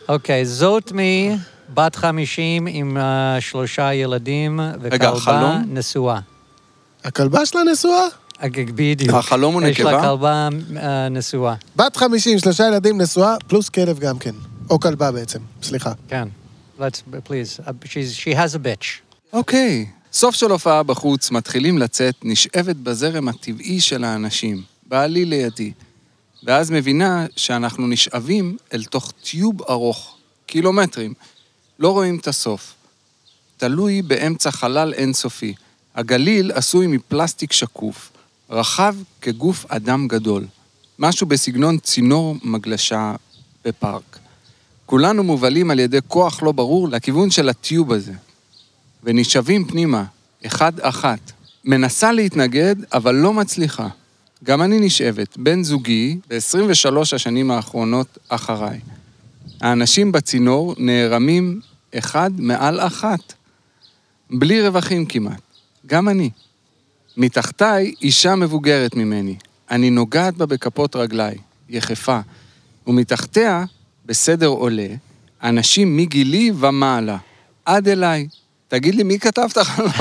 S3: אוקיי, זאת מי בת 50 עם אה, שלושה ילדים וכלבה
S2: חלום?
S3: נשואה.
S1: הכלבה שלה נשואה?
S3: אג- בדיוק.
S2: החלום הוא
S3: יש לה
S2: נקבה?
S3: כלבה אה, נשואה,
S1: בת 50, שלושה ילדים נשואה, פלוס כלב גם כן. או כלבה בעצם, סליחה.
S3: כן. Let's, please, uh, she's, she has a bitch.
S2: אוקיי. סוף של הופעה בחוץ, מתחילים לצאת, נשאבת בזרם הטבעי של האנשים. בעלי לידי. ואז מבינה שאנחנו נשאבים אל תוך טיוב ארוך, קילומטרים. לא רואים את הסוף. תלוי באמצע חלל אינסופי. הגליל עשוי מפלסטיק שקוף, רחב כגוף אדם גדול. משהו בסגנון צינור מגלשה בפארק. כולנו מובלים על ידי כוח לא ברור לכיוון של הטיוב הזה. ונשאבים פנימה, אחד-אחת. מנסה להתנגד, אבל לא מצליחה. גם אני נשאבת, בן זוגי, ב-23 השנים האחרונות אחריי. האנשים בצינור נערמים אחד מעל אחת, בלי רווחים כמעט. גם אני. מתחתיי אישה מבוגרת ממני. אני נוגעת בה בכפות רגליי, יחפה. ומתחתיה, בסדר עולה, אנשים מגילי ומעלה, עד אליי. תגיד לי, מי כתב את החלום?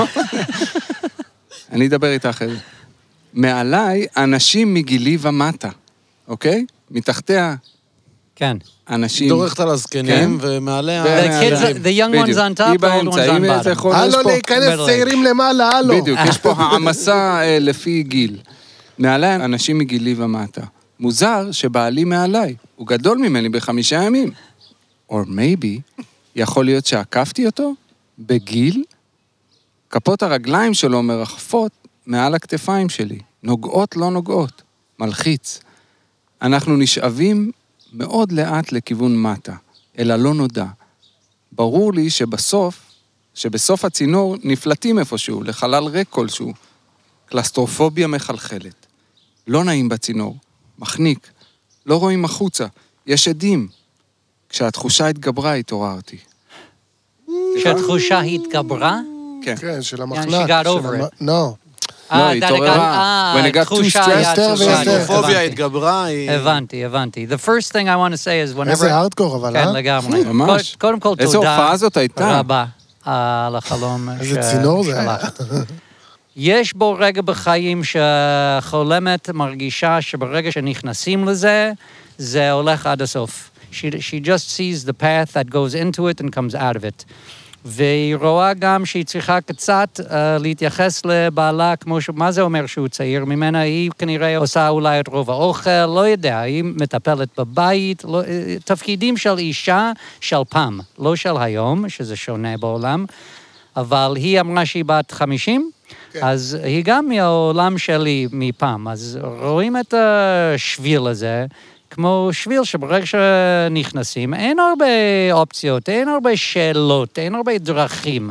S2: אני אדבר איתה אחרי זה. מעליי, אנשים מגילי ומטה, אוקיי? מתחתיה,
S3: כן.
S2: אנשים...
S5: היא דורכת על
S2: כן.
S5: הזקנים, ומעליה...
S3: The kids, are- the young ones on top, the old ones on
S2: היא באמצע,
S3: bottom.
S2: אם יכול, יש
S1: הלו,
S2: פה...
S1: להיכנס
S3: middle
S1: צעירים למעלה, הלו.
S2: בדיוק, יש פה העמסה אה, לפי גיל. מעליי אנשים מגילי ומטה. מוזר שבעלי מעליי, הוא גדול ממני בחמישה ימים. or maybe, יכול להיות שעקפתי אותו בגיל, כפות הרגליים שלו מרחפות מעל הכתפיים שלי, נוגעות לא נוגעות, מלחיץ. אנחנו נשאבים מאוד לאט לכיוון מטה, אל הלא נודע. ברור לי שבסוף, שבסוף הצינור נפלטים איפשהו, לחלל ריק כלשהו. קלסטרופוביה מחלחלת. לא נעים בצינור, מחניק, לא רואים החוצה, יש עדים. כשהתחושה התגברה התעוררתי.
S3: שהתחושה התגברה?
S2: כן.
S1: כן, של המחנק.
S3: she got
S1: של
S3: over
S1: המ-
S3: it.
S1: לא.
S3: אה,
S2: היא
S3: that it got-
S2: התעוררה.
S3: אה,
S2: When it got too
S3: התחושה
S2: stressed,
S3: היה
S1: יותר
S3: התחושה,
S1: ויותר.
S5: הפוביה
S3: הבנתי.
S5: התגברה, היא...
S3: הבנתי, הבנתי. The first thing I want to say is whenever...
S1: איזה הארדקור אבל,
S3: כן,
S1: אה?
S3: לגמרי.
S2: ממש.
S3: קודם כל,
S2: איזה
S3: תודה
S2: הופעה זאת הייתה.
S3: רבה על החלום
S1: איזה צינור זה היה.
S3: ששלחת. יש בו רגע בחיים שהחולמת מרגישה שברגע שנכנסים לזה, זה הולך עד הסוף. She, she just sees the path that goes into it and comes out of it. והיא רואה גם שהיא צריכה קצת uh, להתייחס לבעלה כמו ש... מה זה אומר שהוא צעיר ממנה? היא כנראה עושה אולי את רוב האוכל, לא יודע, היא מטפלת בבית, לא, אה, תפקידים של אישה של פעם, לא של היום, שזה שונה בעולם, אבל היא אמרה שהיא בת 50, כן. אז היא גם מהעולם שלי מפעם, אז רואים את השביל הזה. כמו שביל שברגע שנכנסים, אין הרבה אופציות, אין הרבה שאלות, אין הרבה דרכים.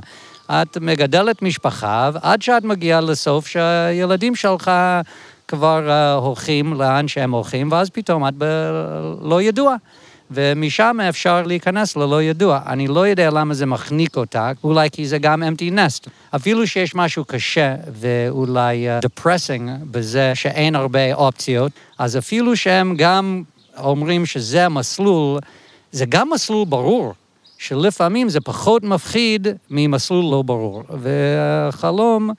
S3: את מגדלת משפחה, עד שאת מגיעה לסוף שהילדים שלך כבר אה, הולכים לאן שהם הולכים, ואז פתאום את לא בלא ידוע. ומשם אפשר להיכנס ללא ידוע. אני לא יודע למה זה מחניק אותה, אולי כי זה גם empty nest. אפילו שיש משהו קשה ואולי אה, depressing בזה שאין הרבה אופציות, אז אפילו שהם גם אומרים שזה המסלול, זה גם מסלול ברור, שלפעמים זה פחות מפחיד ממסלול לא ברור. והחלום,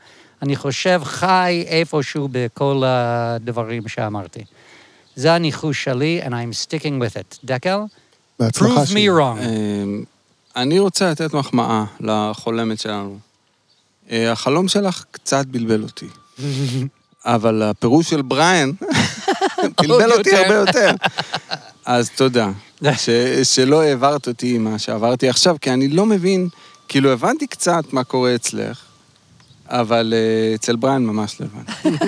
S3: אני חושב, חי איפשהו בכל הדברים שאמרתי. זה הניחוש שלי, and I'm sticking with it. דקל,
S1: בהצלחה
S3: prove
S1: שלי.
S3: me wrong.
S2: אמ, אני רוצה לתת מחמאה לחולמת שלנו. אה, החלום שלך קצת בלבל אותי. אבל הפירוש של בריאן בלבל אותי הרבה יותר. אז תודה. ש, שלא העברת אותי מה שעברתי עכשיו, כי אני לא מבין, כאילו הבנתי קצת מה קורה אצלך, אבל אה, אצל בריאן ממש לא הבנתי.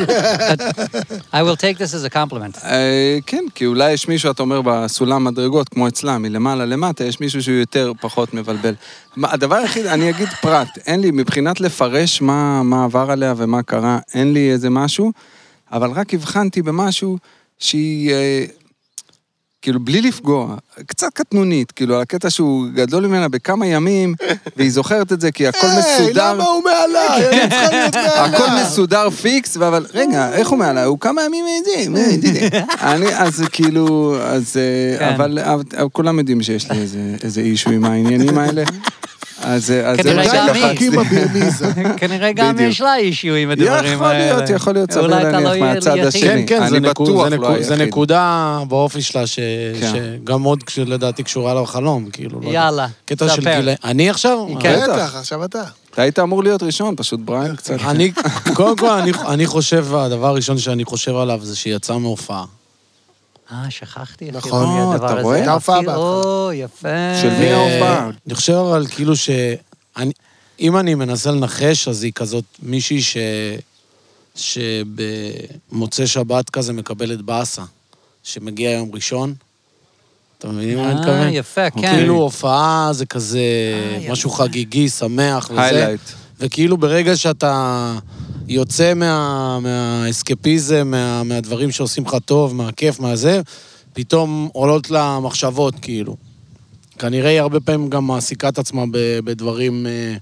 S3: I will take this as a compliment.
S2: אה, כן, כי אולי יש מישהו, אתה אומר, בסולם מדרגות, כמו אצלם, מלמעלה למטה, יש מישהו שהוא יותר פחות מבלבל. מה, הדבר היחיד, אני אגיד פרט, אין לי, מבחינת לפרש מה, מה עבר עליה ומה קרה, אין לי איזה משהו, אבל רק הבחנתי במשהו שהיא, אה, כאילו, בלי לפגוע, קצת קטנונית, כאילו, על הקטע שהוא גדול ממנה בכמה ימים, והיא זוכרת את זה כי הכל
S1: היי,
S2: מסודר. כן.
S1: למה הוא מעליי? אני צריכה להיות מעליי.
S2: הכל מסודר פיקס, אבל רגע, איך הוא מעלה? הוא כמה ימים מעדים, אני, אז כאילו, אז, אה,
S3: כן.
S2: אבל אבל- אבל כולם יודעים שיש לי איזה- איזה אישו עם העניינים האלה. אז אה, אז זה
S3: כנראה
S2: מה
S3: גם
S2: שלחצתי.
S3: היא.
S1: חכים הבירמיזה.
S3: כנראה גם
S2: בדיוק.
S3: יש לה אישיו עם הדברים
S2: יכול
S3: האלה.
S2: להיות, יכול להיות, סביר
S3: אולי אתה לא
S2: להניח
S3: יהיה
S2: מהצד
S3: יחיד.
S2: השני.
S5: כן, כן, זה
S2: אני
S5: נקוד-
S2: בטוח לא
S5: זה נקוד- זה
S2: היחיד.
S5: נקודה באופי שלה, ש-
S2: כן.
S5: שגם מאוד כש- לדעתי קשורה לחלום, כאילו. לא יודע.
S3: יאללה,
S5: קטע של
S3: ספר.
S5: גיל... אני עכשיו?
S3: כן.
S1: בטח, עכשיו אתה.
S2: אתה היית אמור להיות ראשון, פשוט בריין קצת.
S5: אני, קודם כל, אני, אני חושב, הדבר הראשון שאני חושב עליו זה שהיא יצאה מהופעה.
S3: אה, Ah, שכחתי. איך
S1: נכון,
S3: קוראים לי
S2: אתה
S3: הדבר הזה.
S2: רואה?
S1: הייתה הופעה
S3: אפילו- או, יפה.
S2: של מי ההופעה?
S5: אה, אני חושב אבל כאילו ש... אני, אם אני מנסה לנחש, אז היא כזאת מישהי ש... שבמוצאי שבת כזה מקבלת באסה, שמגיע יום ראשון. אתה מבין מה אני
S3: אה,
S5: מתכוון?
S3: יפה, אה, כן.
S5: כאילו הופעה זה כזה משהו חגיגי, שמח וזה.
S2: Highlight.
S5: וכאילו ברגע שאתה יוצא מה, מהאסקפיזם, מה, מהדברים שעושים לך טוב, מהכיף, מהזה, פתאום עולות לה מחשבות, כאילו. כנראה היא הרבה פעמים גם מעסיקה את עצמה ב- בדברים, אה,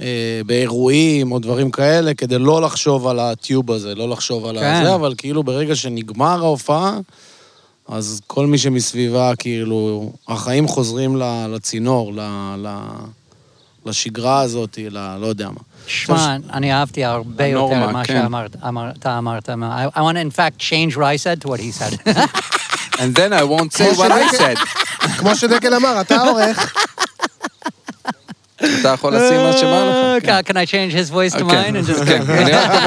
S5: אה, באירועים או דברים כאלה, כדי לא לחשוב על הטיוב הזה, לא לחשוב על
S3: כן.
S5: כן. הזה, אבל כאילו ברגע שנגמר ההופעה, אז כל מי שמסביבה, כאילו, החיים חוזרים ל- לצינור, ל- ל- לשגרה הזאת, ל- לא יודע מה.
S3: שמע, אני אהבתי הרבה יותר
S2: הנורמה,
S3: ממה
S2: כן.
S3: שאמרת, אמר- אתה אמרת. I I want to in fact change what I said to what he said.
S2: And then I won't say what I said.
S1: כמו שדקל אמר, אתה העורך.
S2: אתה יכול לשים מה שבא לך.
S3: Can I change his voice to
S2: כן.
S3: mine? and just-
S2: כן, אני רק אומר.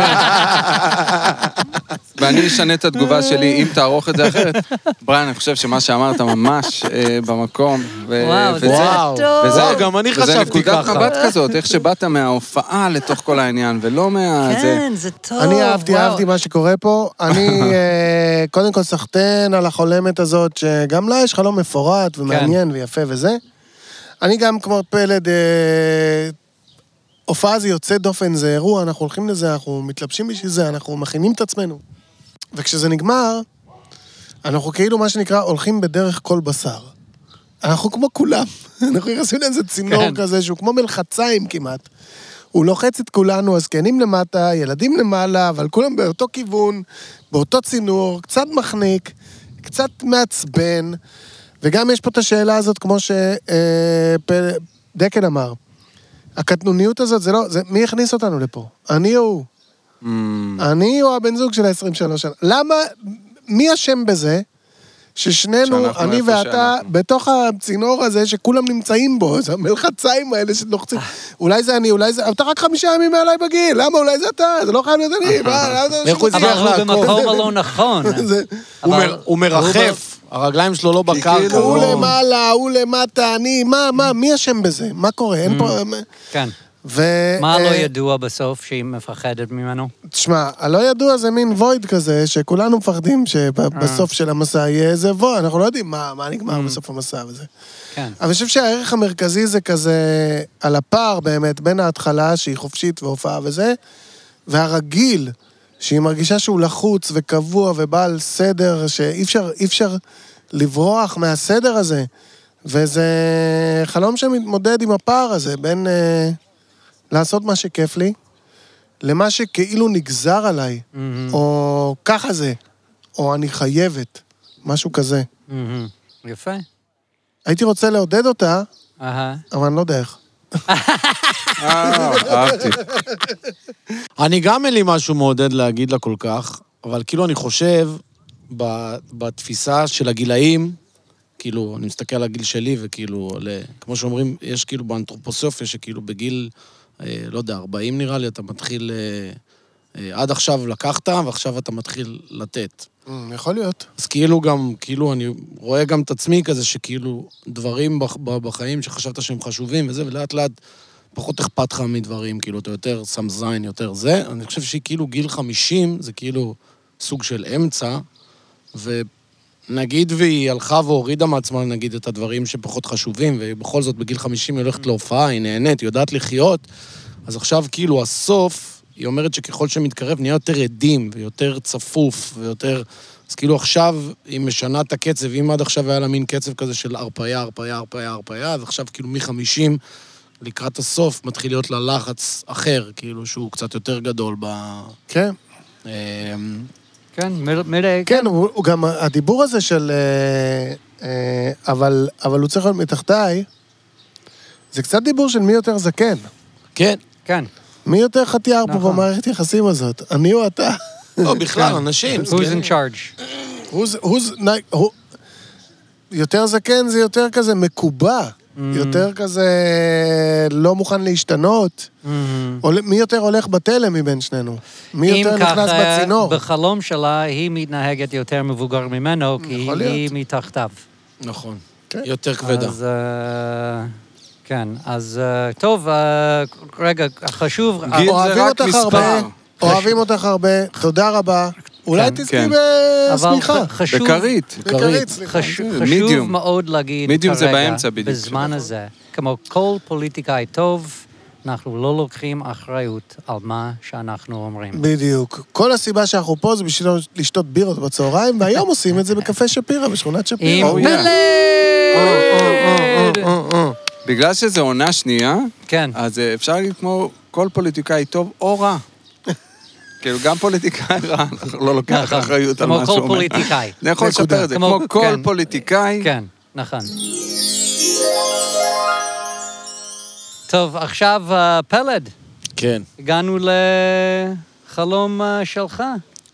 S2: ואני אשנה את התגובה שלי, אם תערוך את זה אחרת. בריין, אני חושב שמה שאמרת ממש אה, במקום. ו-
S3: וואו,
S2: וזה-
S3: זה
S5: וואו.
S3: טוב.
S2: וזה-
S5: וואו, גם אני
S2: וזה
S5: חשבתי
S2: נקודת
S5: ככה.
S2: מבט כזאת, איך שבאת מההופעה לתוך כל העניין, ולא מה... זה-
S3: כן, זה טוב.
S1: אני אהבתי,
S3: וואו.
S1: אהבתי מה שקורה פה. אני, אה, קודם כל, סחטיין על החולמת הזאת, שגם לה יש חלום מפורט
S3: כן.
S1: ומעניין ויפה וזה. אני גם, כמו פלד, אה, הופעה זה יוצא דופן, זה אירוע, אנחנו הולכים לזה, אנחנו מתלבשים בשביל זה, אנחנו מכינים את עצמנו. וכשזה נגמר, אנחנו כאילו, מה שנקרא, הולכים בדרך כל בשר. אנחנו כמו כולם. אנחנו נכנסים לאיזה צינור
S3: כן.
S1: כזה, שהוא כמו מלחציים כמעט. הוא לוחץ את כולנו, הזקנים למטה, ילדים למעלה, אבל כולם באותו כיוון, באותו צינור, קצת מחניק, קצת מעצבן. וגם יש פה את השאלה הזאת, כמו שדקל אמר. הקטנוניות הזאת, זה לא... זה, מי הכניס אותנו לפה? אני או הוא.
S2: Mm.
S1: אני או הבן זוג של ה-23 שנה. למה... מי אשם בזה ששנינו,
S2: שאנחנו
S1: אני
S2: איפה
S1: ואתה,
S2: שאנחנו.
S1: בתוך הצינור הזה שכולם נמצאים בו, זה המלחציים האלה שלוחצים. אולי זה אני, אולי זה... אתה רק חמישה ימים מעליי בגיל, למה אולי זה אתה? זה לא חייב להיות אני, מה, למה זה...
S5: איך הוא
S1: שום
S5: הצליח
S1: דבר?
S3: אבל הוא
S5: לעקוב.
S3: במקום הלא נכון.
S1: זה-
S5: הוא
S3: אבל-
S5: מר- הוא מרחף, הרגליים שלו לא בקרקע.
S1: כאילו הוא
S5: לא-
S1: למעלה, הוא למטה, אני, מה, מה, מי אשם בזה? מה קורה? אין
S5: Mm.
S1: פה...
S3: כן.
S1: ו...
S3: מה לא
S1: אה,
S3: ידוע בסוף שהיא מפחדת ממנו?
S1: תשמע, הלא ידוע זה מין וויד כזה, שכולנו מפחדים שבסוף של המסע יהיה איזה וויד, אנחנו לא יודעים מה, מה נגמר בסוף המסע וזה.
S3: כן.
S1: אבל אני חושב שהערך המרכזי זה כזה, על הפער באמת, בין ההתחלה, שהיא חופשית והופעה וזה, והרגיל, שהיא מרגישה שהוא לחוץ וקבוע ובעל סדר, שאי אפשר, אי אפשר לברוח מהסדר הזה. וזה חלום שמתמודד עם הפער הזה בין אה, לעשות מה שכיף לי, למה שכאילו נגזר עליי, או ככה זה, או אני חייבת, משהו כזה.
S3: מהמם. יפה.
S1: הייתי רוצה לעודד אותה,
S3: אהה.
S1: אבל אני לא יודע איך.
S2: אה, אהבתי.
S5: אני גם אין לי משהו מעודד להגיד לה כל כך, אבל כאילו אני חושב, ב- בתפיסה של הגילאים, כאילו, אני מסתכל על הגיל שלי, וכאילו, ל- כמו שאומרים, יש כאילו באנתרופוסופיה, שכאילו בגיל, אה, לא יודע, 40 נראה לי, אתה מתחיל... אה, אה, עד עכשיו לקחת, ועכשיו אתה מתחיל לתת.
S1: יכול להיות.
S5: אז כאילו גם, כאילו, אני רואה גם את עצמי כזה, שכאילו, דברים בח- ב- בחיים שחשבת שהם חשובים וזה, ולאט לאט פחות אכפת לך מדברים, כאילו, אתה יותר שם זין, יותר זה. אני חושב שכאילו גיל 50 זה כאילו סוג של אמצע, ונגיד והיא הלכה והורידה מעצמה, נגיד, את הדברים שפחות חשובים, ובכל זאת בגיל 50 היא הולכת להופעה, היא נהנית, היא יודעת לחיות, אז עכשיו כאילו הסוף, היא אומרת שככל שמתקרב נהיה יותר עדים, ויותר צפוף, ויותר... אז כאילו עכשיו היא משנה את הקצב, אם עד עכשיו היה לה מין קצב כזה של הרפאיה, הרפאיה, הרפאיה, הרפאיה, אז עכשיו כאילו מ-50 לקראת הסוף מתחיל להיות לה לחץ אחר, כאילו שהוא קצת יותר גדול ב...
S1: כן.
S5: אמ,
S3: כן, מ- מלא...
S1: כן, הוא הוא גם, הדיבור הזה של... אה, אה, אבל אבל הוא צריך להיות מתחתיי, זה קצת דיבור של מי יותר זקן.
S5: כן.
S3: כן.
S1: מי יותר חטיאר פה
S3: נכון.
S1: במערכת יחסים הזאת, אני או אתה?
S5: לא, בכלל, אנשים.
S3: Who's
S5: כן.
S3: in charge?
S1: הוא זה- הוא זה- נה- הוא- יותר זקן זה יותר כזה מקובע, יותר כזה לא מוכן להשתנות.
S3: מהמם.
S1: עול- מי יותר הולך בתלם מבין שנינו? מי
S3: אם
S1: יותר נכנס
S3: ככה,
S1: בצינור?
S3: בחלום שלה היא מתנהגת יותר מבוגר ממנו, כי
S1: יכול
S3: היא מתחתיו.
S5: נכון.
S1: כן.
S5: יותר כבדה.
S3: אז... אה, כן, אז אה, טוב, אה, רגע, חשוב...
S2: גיל
S3: אה,
S2: זה
S1: אוהבים
S2: רק
S1: אותך
S2: מספר.
S1: הרבה, אוהבים אותך הרבה, תודה רבה. אולי
S3: כן,
S1: תזכי
S2: כן.
S3: אבל
S1: בשמיכה.
S3: ח- חשוב...
S2: בכרית.
S1: בכרית, סליחה.
S3: חש-
S2: כן,
S3: חשוב
S2: medium.
S3: מאוד להגיד
S2: medium
S3: כרגע,
S2: זה באמצע בדיוק,
S3: בזמן
S2: נכון.
S3: הזה, כמו כל פוליטיקאי טוב, אנחנו לא לוקחים אחריות על מה שאנחנו אומרים.
S1: בדיוק. כל הסיבה שאנחנו פה זה בשביל לשתות בירות בצהריים, והיום עושים את זה בקפה שפירא, בשכונת
S3: עם
S1: שפירא.
S2: Oh, yeah.
S3: פלד!
S2: בגלל שזו עונה שנייה,
S3: כן.
S2: אז אה, אפשר להגיד כמו כל פוליטיקאי טוב או רע. כאילו, גם פוליטיקאי רע לא לוקח
S3: נכון.
S2: אחריות על
S3: כמו
S2: מה
S3: כל
S2: שהוא אומר.
S3: פוליטיקאי.
S2: אני יכול
S1: נקודה.
S2: לספר את זה.
S3: כמו-
S2: כמו כל
S3: כן.
S2: פוליטיקאי,
S3: כן, נכון. טוב, עכשיו אה, פלד,
S5: כן,
S3: הגענו לחלום אה, שלך.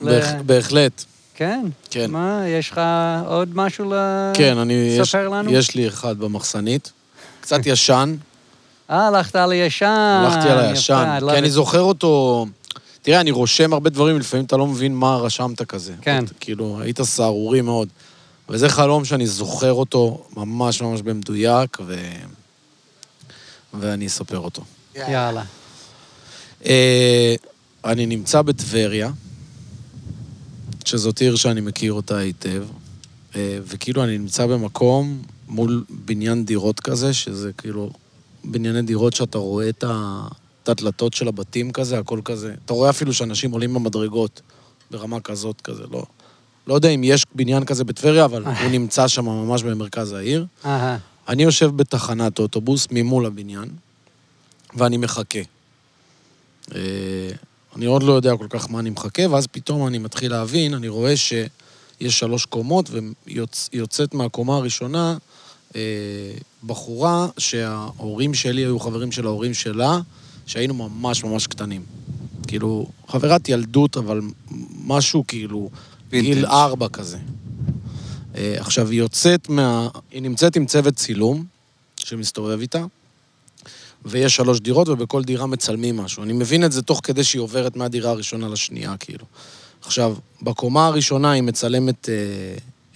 S3: ל-
S5: בהח- בהחלט.
S3: כן?
S5: כן.
S3: מה, יש לך עוד משהו
S5: כן, אני... יש-
S3: לספר לנו?
S5: יש לי אחד במחסנית. קצת ישן,
S3: אה, הלכת על הישן.
S5: הלכתי על הישן.
S3: יפה, לא I love
S5: כי אני
S3: it.
S5: זוכר אותו... תראה, אני רושם הרבה דברים, לפעמים אתה לא מבין מה רשמת כזה.
S3: כן.
S5: אתה, כאילו, היית סהרורי מאוד. וזה חלום שאני זוכר אותו ממש ממש במדויק, ו... ואני אספר אותו.
S3: יאללה.
S5: אה, אני נמצא בטבריה, שזאת עיר שאני מכיר אותה היטב, אה, וכאילו אני נמצא במקום מול בניין דירות כזה, שזה כאילו בנייני דירות שאתה רואה את ה- את הדלתות של הבתים כזה, הכל כזה. אתה רואה אפילו שאנשים עולים במדרגות ברמה כזאת כזה, לא... לא יודע אם יש בניין כזה בטבריה, אבל הוא נמצא שם ממש במרכז העיר.
S3: אהה.
S5: אני יושב בתחנת אוטובוס ממול הבניין, ואני מחכה. אה, אני עוד לא יודע כל כך מה אני מחכה, ואז פתאום אני מתחיל להבין, אני רואה שיש שלוש קומות, ויוצאת מהקומה הראשונה אה, בחורה שההורים שלי היו חברים של ההורים שלה, שהיינו ממש ממש קטנים. כאילו, חברת ילדות, אבל משהו כאילו,
S2: וינטג'.
S5: גיל ארבע כזה. אה, עכשיו, היא יוצאת מה... היא נמצאת עם צוות צילום, שמסתובב איתה, ויש שלוש דירות, ובכל דירה מצלמים משהו. אני מבין את זה תוך כדי שהיא עוברת מהדירה הראשונה לשנייה, כאילו. עכשיו, בקומה הראשונה היא מצלמת אה,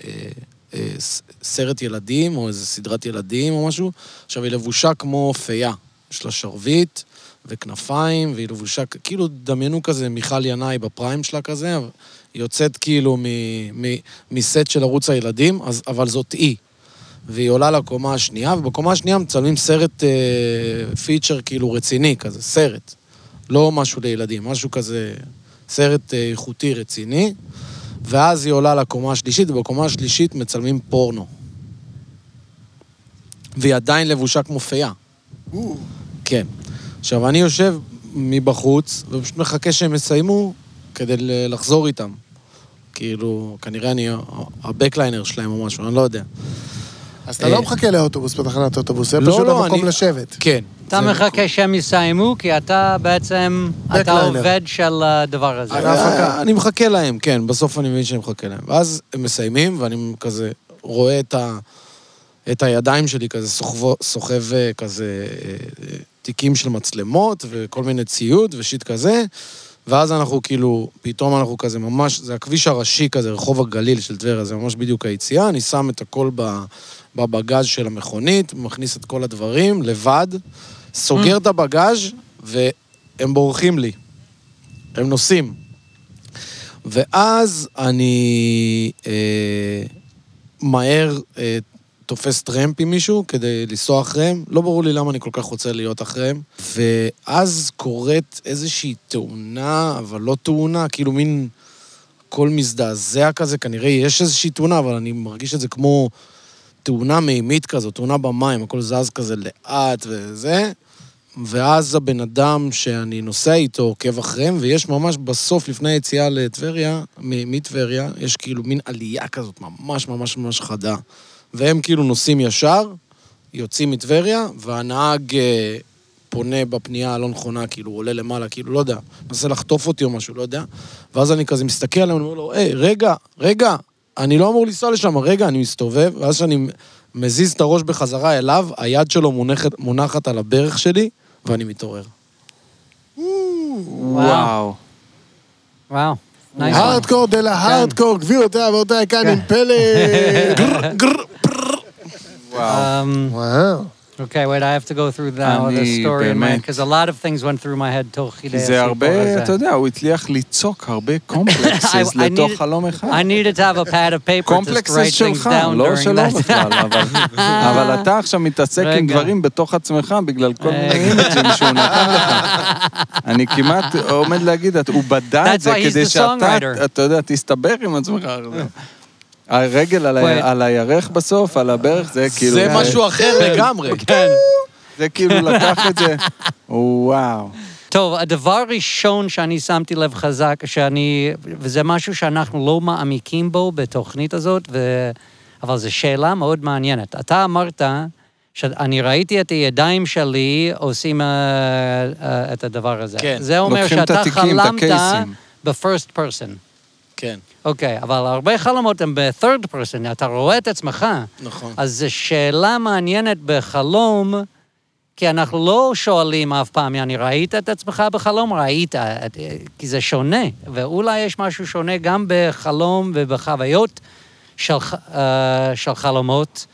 S5: אה, אה, ס- סרט ילדים, או איזה סדרת ילדים או משהו. עכשיו, היא לבושה כמו פיה. יש לה שרביט וכנפיים, והיא לבושה, כ- כאילו, דמיינו כזה מיכל ינאי בפריים שלה כזה, אבל היא יוצאת כאילו מ- מ- מסט של ערוץ הילדים, אז, אבל זאת היא. והיא עולה לקומה השנייה, ובקומה השנייה מצלמים סרט אה, פיצ'ר כאילו רציני כזה, סרט. לא משהו לילדים, משהו כזה, סרט אה, איכותי רציני. ואז היא עולה לקומה השלישית, ובקומה השלישית מצלמים פורנו. והיא עדיין לבושה כמו פייה. כן. עכשיו, אני יושב מבחוץ, ופשוט מחכה שהם יסיימו כדי ל- לחזור איתם. כאילו, כנראה אני ה- הבקליינר שלהם או משהו, אני לא יודע.
S1: אז אתה לא מחכה לאוטובוס בתחנת אוטובוס, זה
S5: לא,
S1: פשוט
S5: לא,
S1: המקום
S5: אני-
S1: לשבת.
S5: כן.
S3: אתה
S5: זה-
S3: מחכה שהם יסיימו, כי אתה בעצם, אתה
S1: Backliner.
S3: עובד של הדבר הזה.
S2: נכון.
S5: אה, אני מחכה להם, כן, בסוף אני מבין שאני מחכה להם. ואז הם מסיימים, ואני כזה רואה את, ה, את הידיים שלי כזה סוחבו, סוחב אה, כזה אה, אה, תיקים של מצלמות וכל מיני ציוד ושיט כזה, ואז אנחנו כאילו, פתאום אנחנו כזה ממש, זה הכביש הראשי כזה, רחוב הגליל של טבריה, זה ממש בדיוק היציאה, אני שם את הכל ב, בבגז של המכונית, מכניס את כל הדברים לבד, סוגר את הבגז, והם בורחים לי. הם נוסעים. ואז אני אה, מהר אה, תופס טרמפ עם מישהו כדי לנסוע אחריהם. לא ברור לי למה אני כל כך רוצה להיות אחריהם. ואז קורית איזושהי תאונה, אבל לא תאונה, כאילו מין קול מזדעזע כזה, כנראה יש איזושהי תאונה, אבל אני מרגיש את זה כמו תאונה מימית כזו, תאונה במים, הכל זז כזה לאט וזה. ואז הבן אדם שאני נוסע איתו עוקב אחריהם, ויש ממש בסוף, לפני היציאה לטבריה, מ- מטבריה, יש כאילו מין עלייה כזאת ממש ממש ממש חדה. והם כאילו נוסעים ישר, יוצאים מטבריה, והנהג אה, פונה בפנייה הלא נכונה, כאילו הוא עולה למעלה, כאילו, לא יודע, מנסה לחטוף אותי או משהו, לא יודע. ואז אני כזה מסתכל עליהם, אני אומר לו, היי, רגע, רגע, אני לא אמור לנסוע לשם, רגע, אני מסתובב, ואז שאני מזיז את הראש בחזרה אליו, היד שלו מונחת, מונחת על הברך שלי, ואני מתעורר.
S2: וואו.
S3: וואו. נייס.
S1: הארדקור דה
S3: כן.
S1: לה הארדקור, גבירותיי ורבותיי, כאן עם פלא. גר, גר.
S3: Um,
S1: וואו.
S3: Okay, wait, I have to go through now
S2: אני
S3: the story in mind,
S2: באמת-
S3: because a lot of things went through my head תוך כדי
S2: כי זה הרבה, אתה יודע, הוא הצליח ליצוק הרבה
S3: I-
S2: קומפלקסס
S3: I
S2: לתוך
S3: need-
S2: חלום אחד.
S3: I needed to have a pad of paper to just
S2: קומפלקסס
S3: write things
S2: שלך,
S3: down
S2: לא
S3: during
S2: שלו
S3: that.
S2: בכלל, אבל- אבל אתה עכשיו מתעסק עם
S3: רגע.
S2: דברים בתוך עצמך בגלל כל מיני
S3: רגע.
S2: אימג'ים שהוא נתן לך. אני כמעט עומד להגיד, את- הוא בדע
S3: That's
S2: את זה
S3: why he's
S2: כדי
S3: the
S2: שאתה,
S3: songwriter.
S2: אתה יודע, תסתבר עם עצמך. הרגל על
S3: Wait.
S2: ה- על הירך בסוף, על הברך, זה כאילו...
S5: זה משהו אחר לגמרי.
S3: כן.
S2: זה כאילו לקח את זה, וואו.
S3: טוב, הדבר הראשון שאני שמתי לב חזק, שאני, וזה משהו שאנחנו לא מעמיקים בו בתוכנית הזאת, ו... אבל זו שאלה מאוד מעניינת. אתה אמרת, שאני ראיתי את הידיים שלי עושים אה, אה, את הדבר הזה.
S5: כן.
S3: זה אומר
S2: לוקחים את
S3: שאתה
S2: התיקים, את
S3: חלמת
S2: הקייסים.
S3: ב-first person.
S5: כן,
S3: אוקיי, אבל הרבה חלומות הם ב-third person, אתה רואה את עצמך.
S5: נכון.
S3: אז זו שאלה מעניינת בחלום, כי אנחנו לא שואלים אף פעם, יעני, ראית את עצמך בחלום? ראית, את- כי זה שונה, ואולי יש משהו שונה גם בחלום ובחוויות של, ח- אה, של חלומות.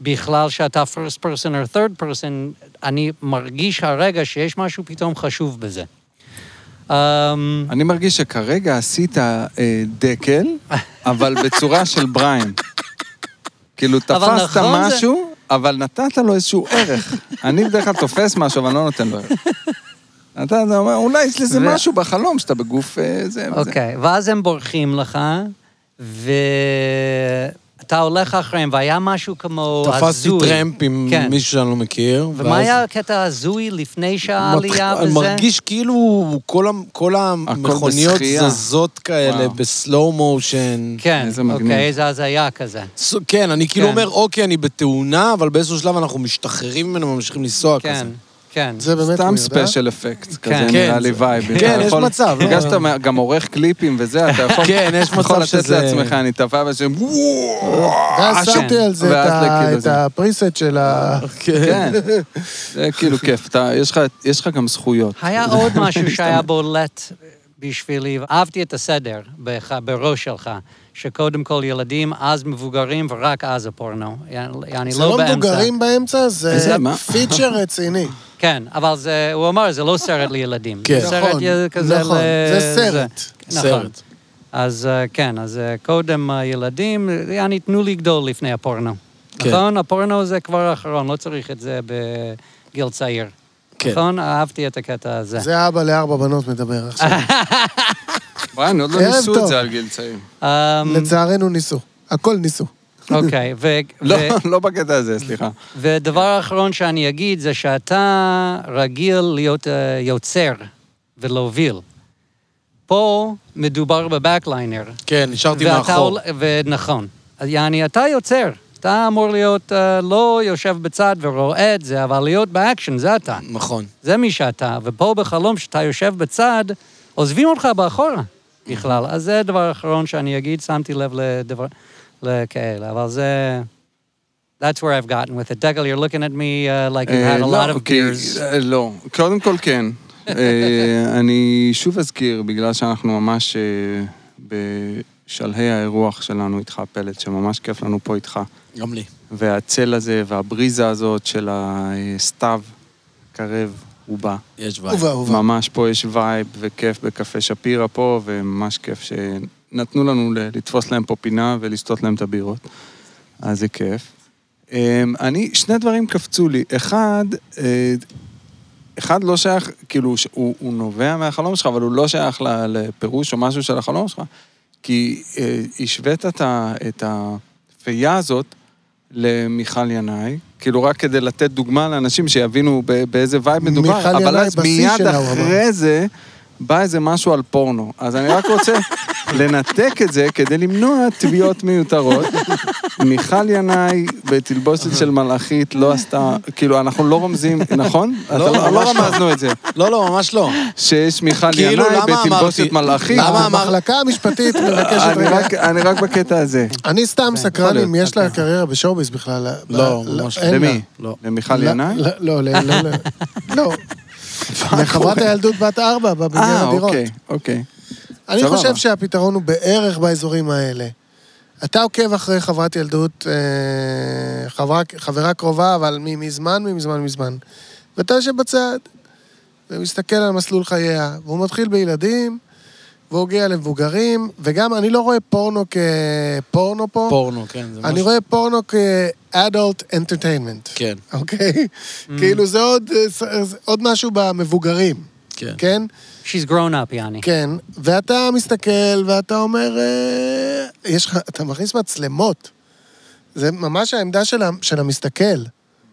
S3: בכלל שאתה first person or third person, אני מרגיש הרגע שיש משהו פתאום חשוב בזה. אמ,
S2: אני מרגיש שכרגע עשית אה, דקל, אבל בצורה של בריים. כאילו,
S3: אבל
S2: תפסת
S3: נכון זה-
S2: משהו, אבל נתת לו איזשהו ערך. אני בדרך כלל תופס משהו, אבל לא נותן לו ערך. אתה אתה אומר, אולי יש לזה
S3: ו-
S2: משהו בחלום שאתה בגוף אה, זה וזה.
S3: אוקיי, ואז הם בורחים לך, ואתה הולך אחריהם, והיה משהו כמו
S5: תפסתי
S3: הזוי.
S5: טרמפ עם
S3: כן.
S5: מישהו שאני לא מכיר.
S3: ומה
S5: ואז
S3: היה הקטע הזוי לפני
S5: מתח-
S3: שהעלייה
S5: אני
S3: וזה?
S5: מרגיש כאילו כל ה- כל המכוניות
S2: בשחייה.
S5: זזות כאלה
S2: וואו.
S5: בסלואו מושן.
S3: כן,
S2: איזה מגניב.
S3: אוקיי, איזה הזיה כזה.
S5: ס- כן, אני כאילו
S3: כן.
S5: אומר, אוקיי, אני בתאונה, אבל באיזשהו שלב אנחנו משתחררים ממנו וממשיכים לנסוע כזה.
S3: כן, כן.
S1: זה באמת,
S2: סתם
S1: הוא יודע?
S2: ספיישל אפקט, כזה
S3: כן.
S2: נראה
S5: כן,
S2: לי
S5: זה-
S2: וייב.
S5: כן,
S2: אתה
S5: יש
S2: יכול-
S5: מצב, לא?
S2: בגלל שאתה גם עורך קליפים וזה, אתה יכול...
S5: כן, יש
S2: אתה יכול
S5: מצב
S2: לתת
S5: שזה-
S2: לעצמך, אני תפס וזה...
S1: ואז
S3: אה,
S1: שמתי
S3: כן.
S1: על זה את
S2: ואז
S1: ה-
S2: לכאילו
S1: את
S2: זה.
S1: הפריסט של ה...
S2: כן, זה כאילו כיף. אתה- יש לך- יש לך גם זכויות.
S3: היה עוד משהו שהיה בולט בשבילי, אהבתי את הסדר בך, בראש שלך, שקודם כל ילדים, אז מבוגרים, ורק אז הפורנו. אני
S1: זה
S3: לא
S1: לא
S3: באמצע.
S1: מבוגרים באמצע, זה
S2: זה, מה?
S1: פיצ'ר רציני.
S3: כן, אבל זה, הוא אמר, זה לא סרט לילדים.
S5: כן.
S3: זה סרט
S1: נכון,
S3: י- כזה
S1: נכון,
S3: ל...
S1: זה סרט.
S3: נכון.
S5: סרט.
S3: אז אה, כן, אז אה, קודם הילדים, יעני, תנו לגדול לפני הפורנו.
S5: כן.
S3: נכון? הפורנו זה כבר האחרון, לא צריך את זה בגיל צעיר.
S5: כן.
S3: נכון? אהבתי את הקטע הזה.
S1: זה אבא לארבע בנות מדבר עכשיו.
S2: וואי, עוד לא
S1: ערב
S2: ניסו
S1: טוב.
S2: את זה על גיל צעיר.
S3: אמ,
S1: לצערנו ניסו. הכל ניסו.
S3: אוקיי, ו-
S2: לא,
S3: ו-
S2: לא בקטע הזה, סליחה.
S3: ודבר אחרון שאני אגיד זה שאתה רגיל להיות אה, יוצר ולהוביל. פה מדובר בבקליינר.
S5: כן, נשארתי
S3: ואתה
S5: מאחור.
S3: עול- ונכון. אז יעני, אתה יוצר. אתה אמור להיות אה, לא יושב בצד ורואה את זה, אבל להיות באקשן, זה אתה.
S5: נכון.
S3: זה מי שאתה. ופה בחלום שאתה יושב בצד, עוזבים אותך באחורה בכלל. אז זה הדבר האחרון שאני אגיד, שמתי לב לדבר... לכאלה, אבל זה... That's where I've gotten with it. Degal, you're looking at me uh, like you've had a lot
S2: אה, לא,
S3: of
S2: כי-
S3: beers.
S2: אה, לא, קודם כל כן. אה, אני שוב אזכיר, בגלל שאנחנו ממש אה, בשלהי האירוח שלנו איתך, פלט, שממש כיף לנו פה איתך.
S5: גם לי.
S2: והצל הזה והבריזה הזאת של הסתיו קרב, הוא בא.
S5: יש בעיה.
S1: ובא, ובא.
S2: ממש פה יש וייב וכיף בקפה שפירא פה, וממש כיף שנתנו לנו ל- לתפוס להם פה פינה ולשתות להם את הבירות. אז זה כיף. אמ, אני, שני דברים קפצו לי. אחד, אה, אחד לא שייך, כאילו, ש- הוא, הוא נובע מהחלום שלך, אבל הוא לא שייך ל- לפירוש או משהו של החלום שלך. כי אה, השווית את, ה, את הפייה הזאת למיכל ינאי, כאילו רק כדי לתת דוגמה לאנשים שיבינו ב, באיזה וייב
S1: מיכל
S2: מדובר, אבל
S1: ינאי
S2: אז
S1: בשיא
S2: מיד
S1: שלה, הוא
S2: אחרי זה בא איזה משהו על פורנו. אז אני רק רוצה לנתק את זה כדי למנוע תביעות מיותרות. מיכל ינאי בתלבושת של מלאכית לא עשתה, כאילו, אנחנו לא רומזים, נכון? אתה לא לא
S5: ממש לא.
S2: רמזנו את זה.
S5: לא, לא, ממש לא.
S2: שיש מיכל
S5: כאילו,
S2: ינאי
S5: למה
S2: בתלבושת
S5: אמרתי?
S2: מלאכית.
S5: למה אמר-
S1: המחלקה המשפטית מבקשת
S2: אני
S1: רגע.
S2: רק- אני רק בקטע הזה.
S1: אני סתם
S3: כן.
S1: סקרן
S2: להיות,
S1: אם יש
S3: אוקיי.
S1: לה קריירה בשואוביס בכלל.
S5: לא,
S1: ב-
S5: ממש
S1: אין
S2: למי?
S5: לא.
S2: למיכל
S1: לה.
S2: ינאי? אה,
S1: לא, לא, לא, לא, לא. לא. לחברת הילדות בת ארבע בבניין
S2: אה,
S1: הדירות.
S2: אוקיי, אוקיי.
S1: אני
S2: סבבה.
S1: חושב שהפתרון הוא בערך באזורים האלה. אתה עוקב אחרי חברת ילדות, אה, חברה, חברה קרובה, אבל מ- מזמן, מזמן, מזמן. ואתה יושב בצד, ומסתכל על מסלול חייה, והוא מתחיל בילדים, והוא הגיע למבוגרים, וגם אני לא רואה פורנו כפורנו פה,
S5: פורנו, כן. זה
S1: אני
S5: ממש-
S1: רואה פורנו כ-adult entertainment.
S5: כן, Mm.
S1: אוקיי? כאילו זה עוד, אה, ס- אה, עוד משהו במבוגרים,
S5: כן.
S1: כן?
S3: She's grown up, יעני.
S1: כן, ואתה מסתכל, ואתה אומר, אה, יש לך, אתה מכניס מצלמות. זה ממש העמדה של, ה, של המסתכל,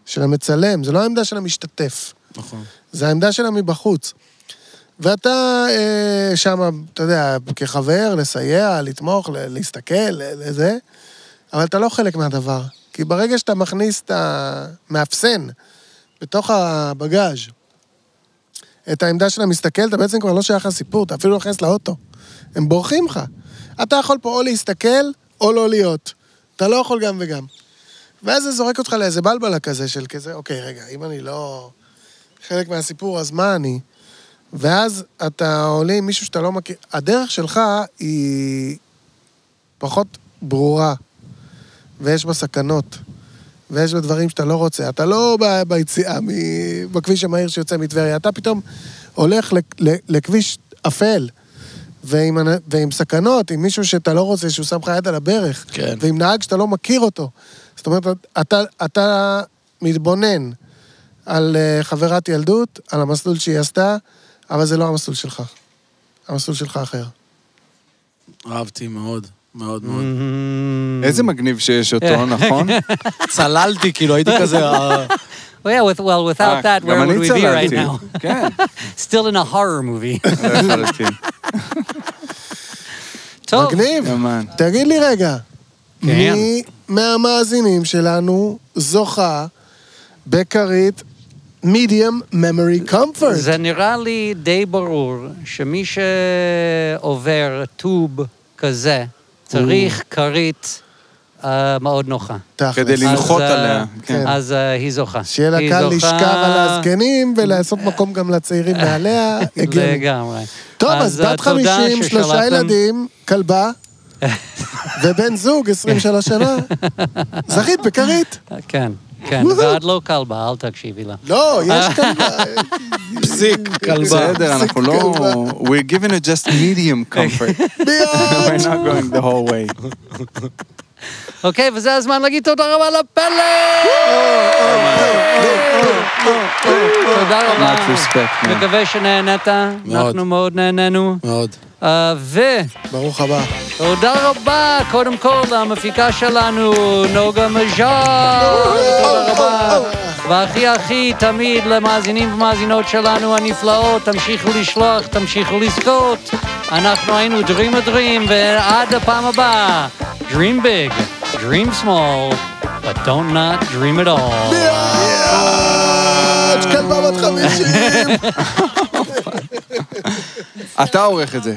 S1: של המצלם, זה לא העמדה של המשתתף.
S5: נכון.
S1: זה העמדה שלה מבחוץ. ואתה אה, שם, אתה יודע, כחבר, לסייע, לתמוך, ל- להסתכל, ל- לזה, אבל אתה לא חלק מהדבר. כי ברגע שאתה מכניס את המאפסן בתוך הבגאז' את העמדה של המסתכל, אתה בעצם כבר לא שייך לסיפור, אתה אפילו לא נכנס לאוטו. הם בורחים לך. אתה יכול פה או להסתכל או לא להיות. אתה לא יכול גם וגם. ואז זה זורק אותך לאיזה בלבלה כזה של כזה, אוקיי, רגע, אם אני לא... חלק מהסיפור, אז מה אני? ואז אתה עולה עם מישהו שאתה לא מכיר. הדרך שלך היא פחות ברורה, ויש בה סכנות, ויש בה דברים שאתה לא רוצה. אתה לא ב- ביציאה, מ- בכביש המהיר שיוצא מטבריה, אתה פתאום הולך לק- ל- לכביש אפל. ועם, אנ- ועם סכנות, עם מישהו שאתה לא רוצה, שהוא שם לך יד על הברך.
S5: כן.
S1: ועם נהג שאתה לא מכיר אותו. זאת אומרת, אתה, אתה מתבונן על אה, חברת ילדות, על המסלול שהיא עשתה, אבל זה לא המסלול שלך. המסלול שלך אחר.
S5: אהבתי מאוד, מאוד מאוד. Mm.
S2: איזה מגניב שיש אותו, נכון?
S5: צללתי, כאילו, הייתי כזה... אה,
S3: Well, yeah, with, well, without that,
S2: גם
S3: where
S2: אני
S3: would we be right
S2: צללתי.
S3: now?
S2: כן, לא
S3: Still in a horror movie.
S2: לחלוטין.
S3: טוב,
S1: מגניב.
S2: יאמן.
S1: תגיד לי רגע,
S3: כן.
S1: מי מהמאזינים שלנו זוכה בכרית medium memory comfort?
S3: זה נראה לי די ברור שמי שעובר טוב כזה, צריך כרית אה, מאוד נוחה.
S1: תכלס.
S2: כדי
S3: אז,
S2: לנחות
S3: אה,
S2: עליה, כן.
S3: אז אה, היא זוכה.
S1: שיהיה לה
S3: היא
S1: קל
S3: זוכה-
S1: לשכב על הזקנים ולעשות מקום גם לצעירים מעליה. הגיוני.
S3: לגמרי.
S1: טוב, אז
S3: אה,
S1: בת
S3: תודה
S1: 50, שלושה
S3: ששלחתם.
S1: ילדים, כלבה, ובן זוג 23 שנה. זכית בכרית.
S3: אה, כן, כן,
S1: וואו.
S3: ועוד לא כלבה, אל תקשיבי לה.
S1: לא, יש כלבה.
S5: פסיק, כלבה.
S2: בסדר, אנחנו לא... We're giving it just medium comfort. We're
S1: ביאת.
S2: not going the whole way.
S3: אוקיי, וזה הזמן להגיד תודה רבה לפלא! תודה
S2: Much
S3: רבה.
S2: respect, man.
S3: מקווה שנהנית, אנחנו מאוד נהנינו.
S5: מאוד.
S3: אה, ותודה
S1: ברוך הבא.
S3: רבה, קודם כל, למפיקה שלנו, נוגה מז'אר, תודה רבה. והכי הכי תמיד למאזינים ומאזינות שלנו הנפלאות, תמשיכו לשלוח, תמשיכו לזכות. אנחנו היינו Dream a Dream, ועד הפעם הבאה, Dream big, Dream small, but don't not dream at all.
S1: ביאת. כלבה בת 50.
S2: אתה עורך את זה.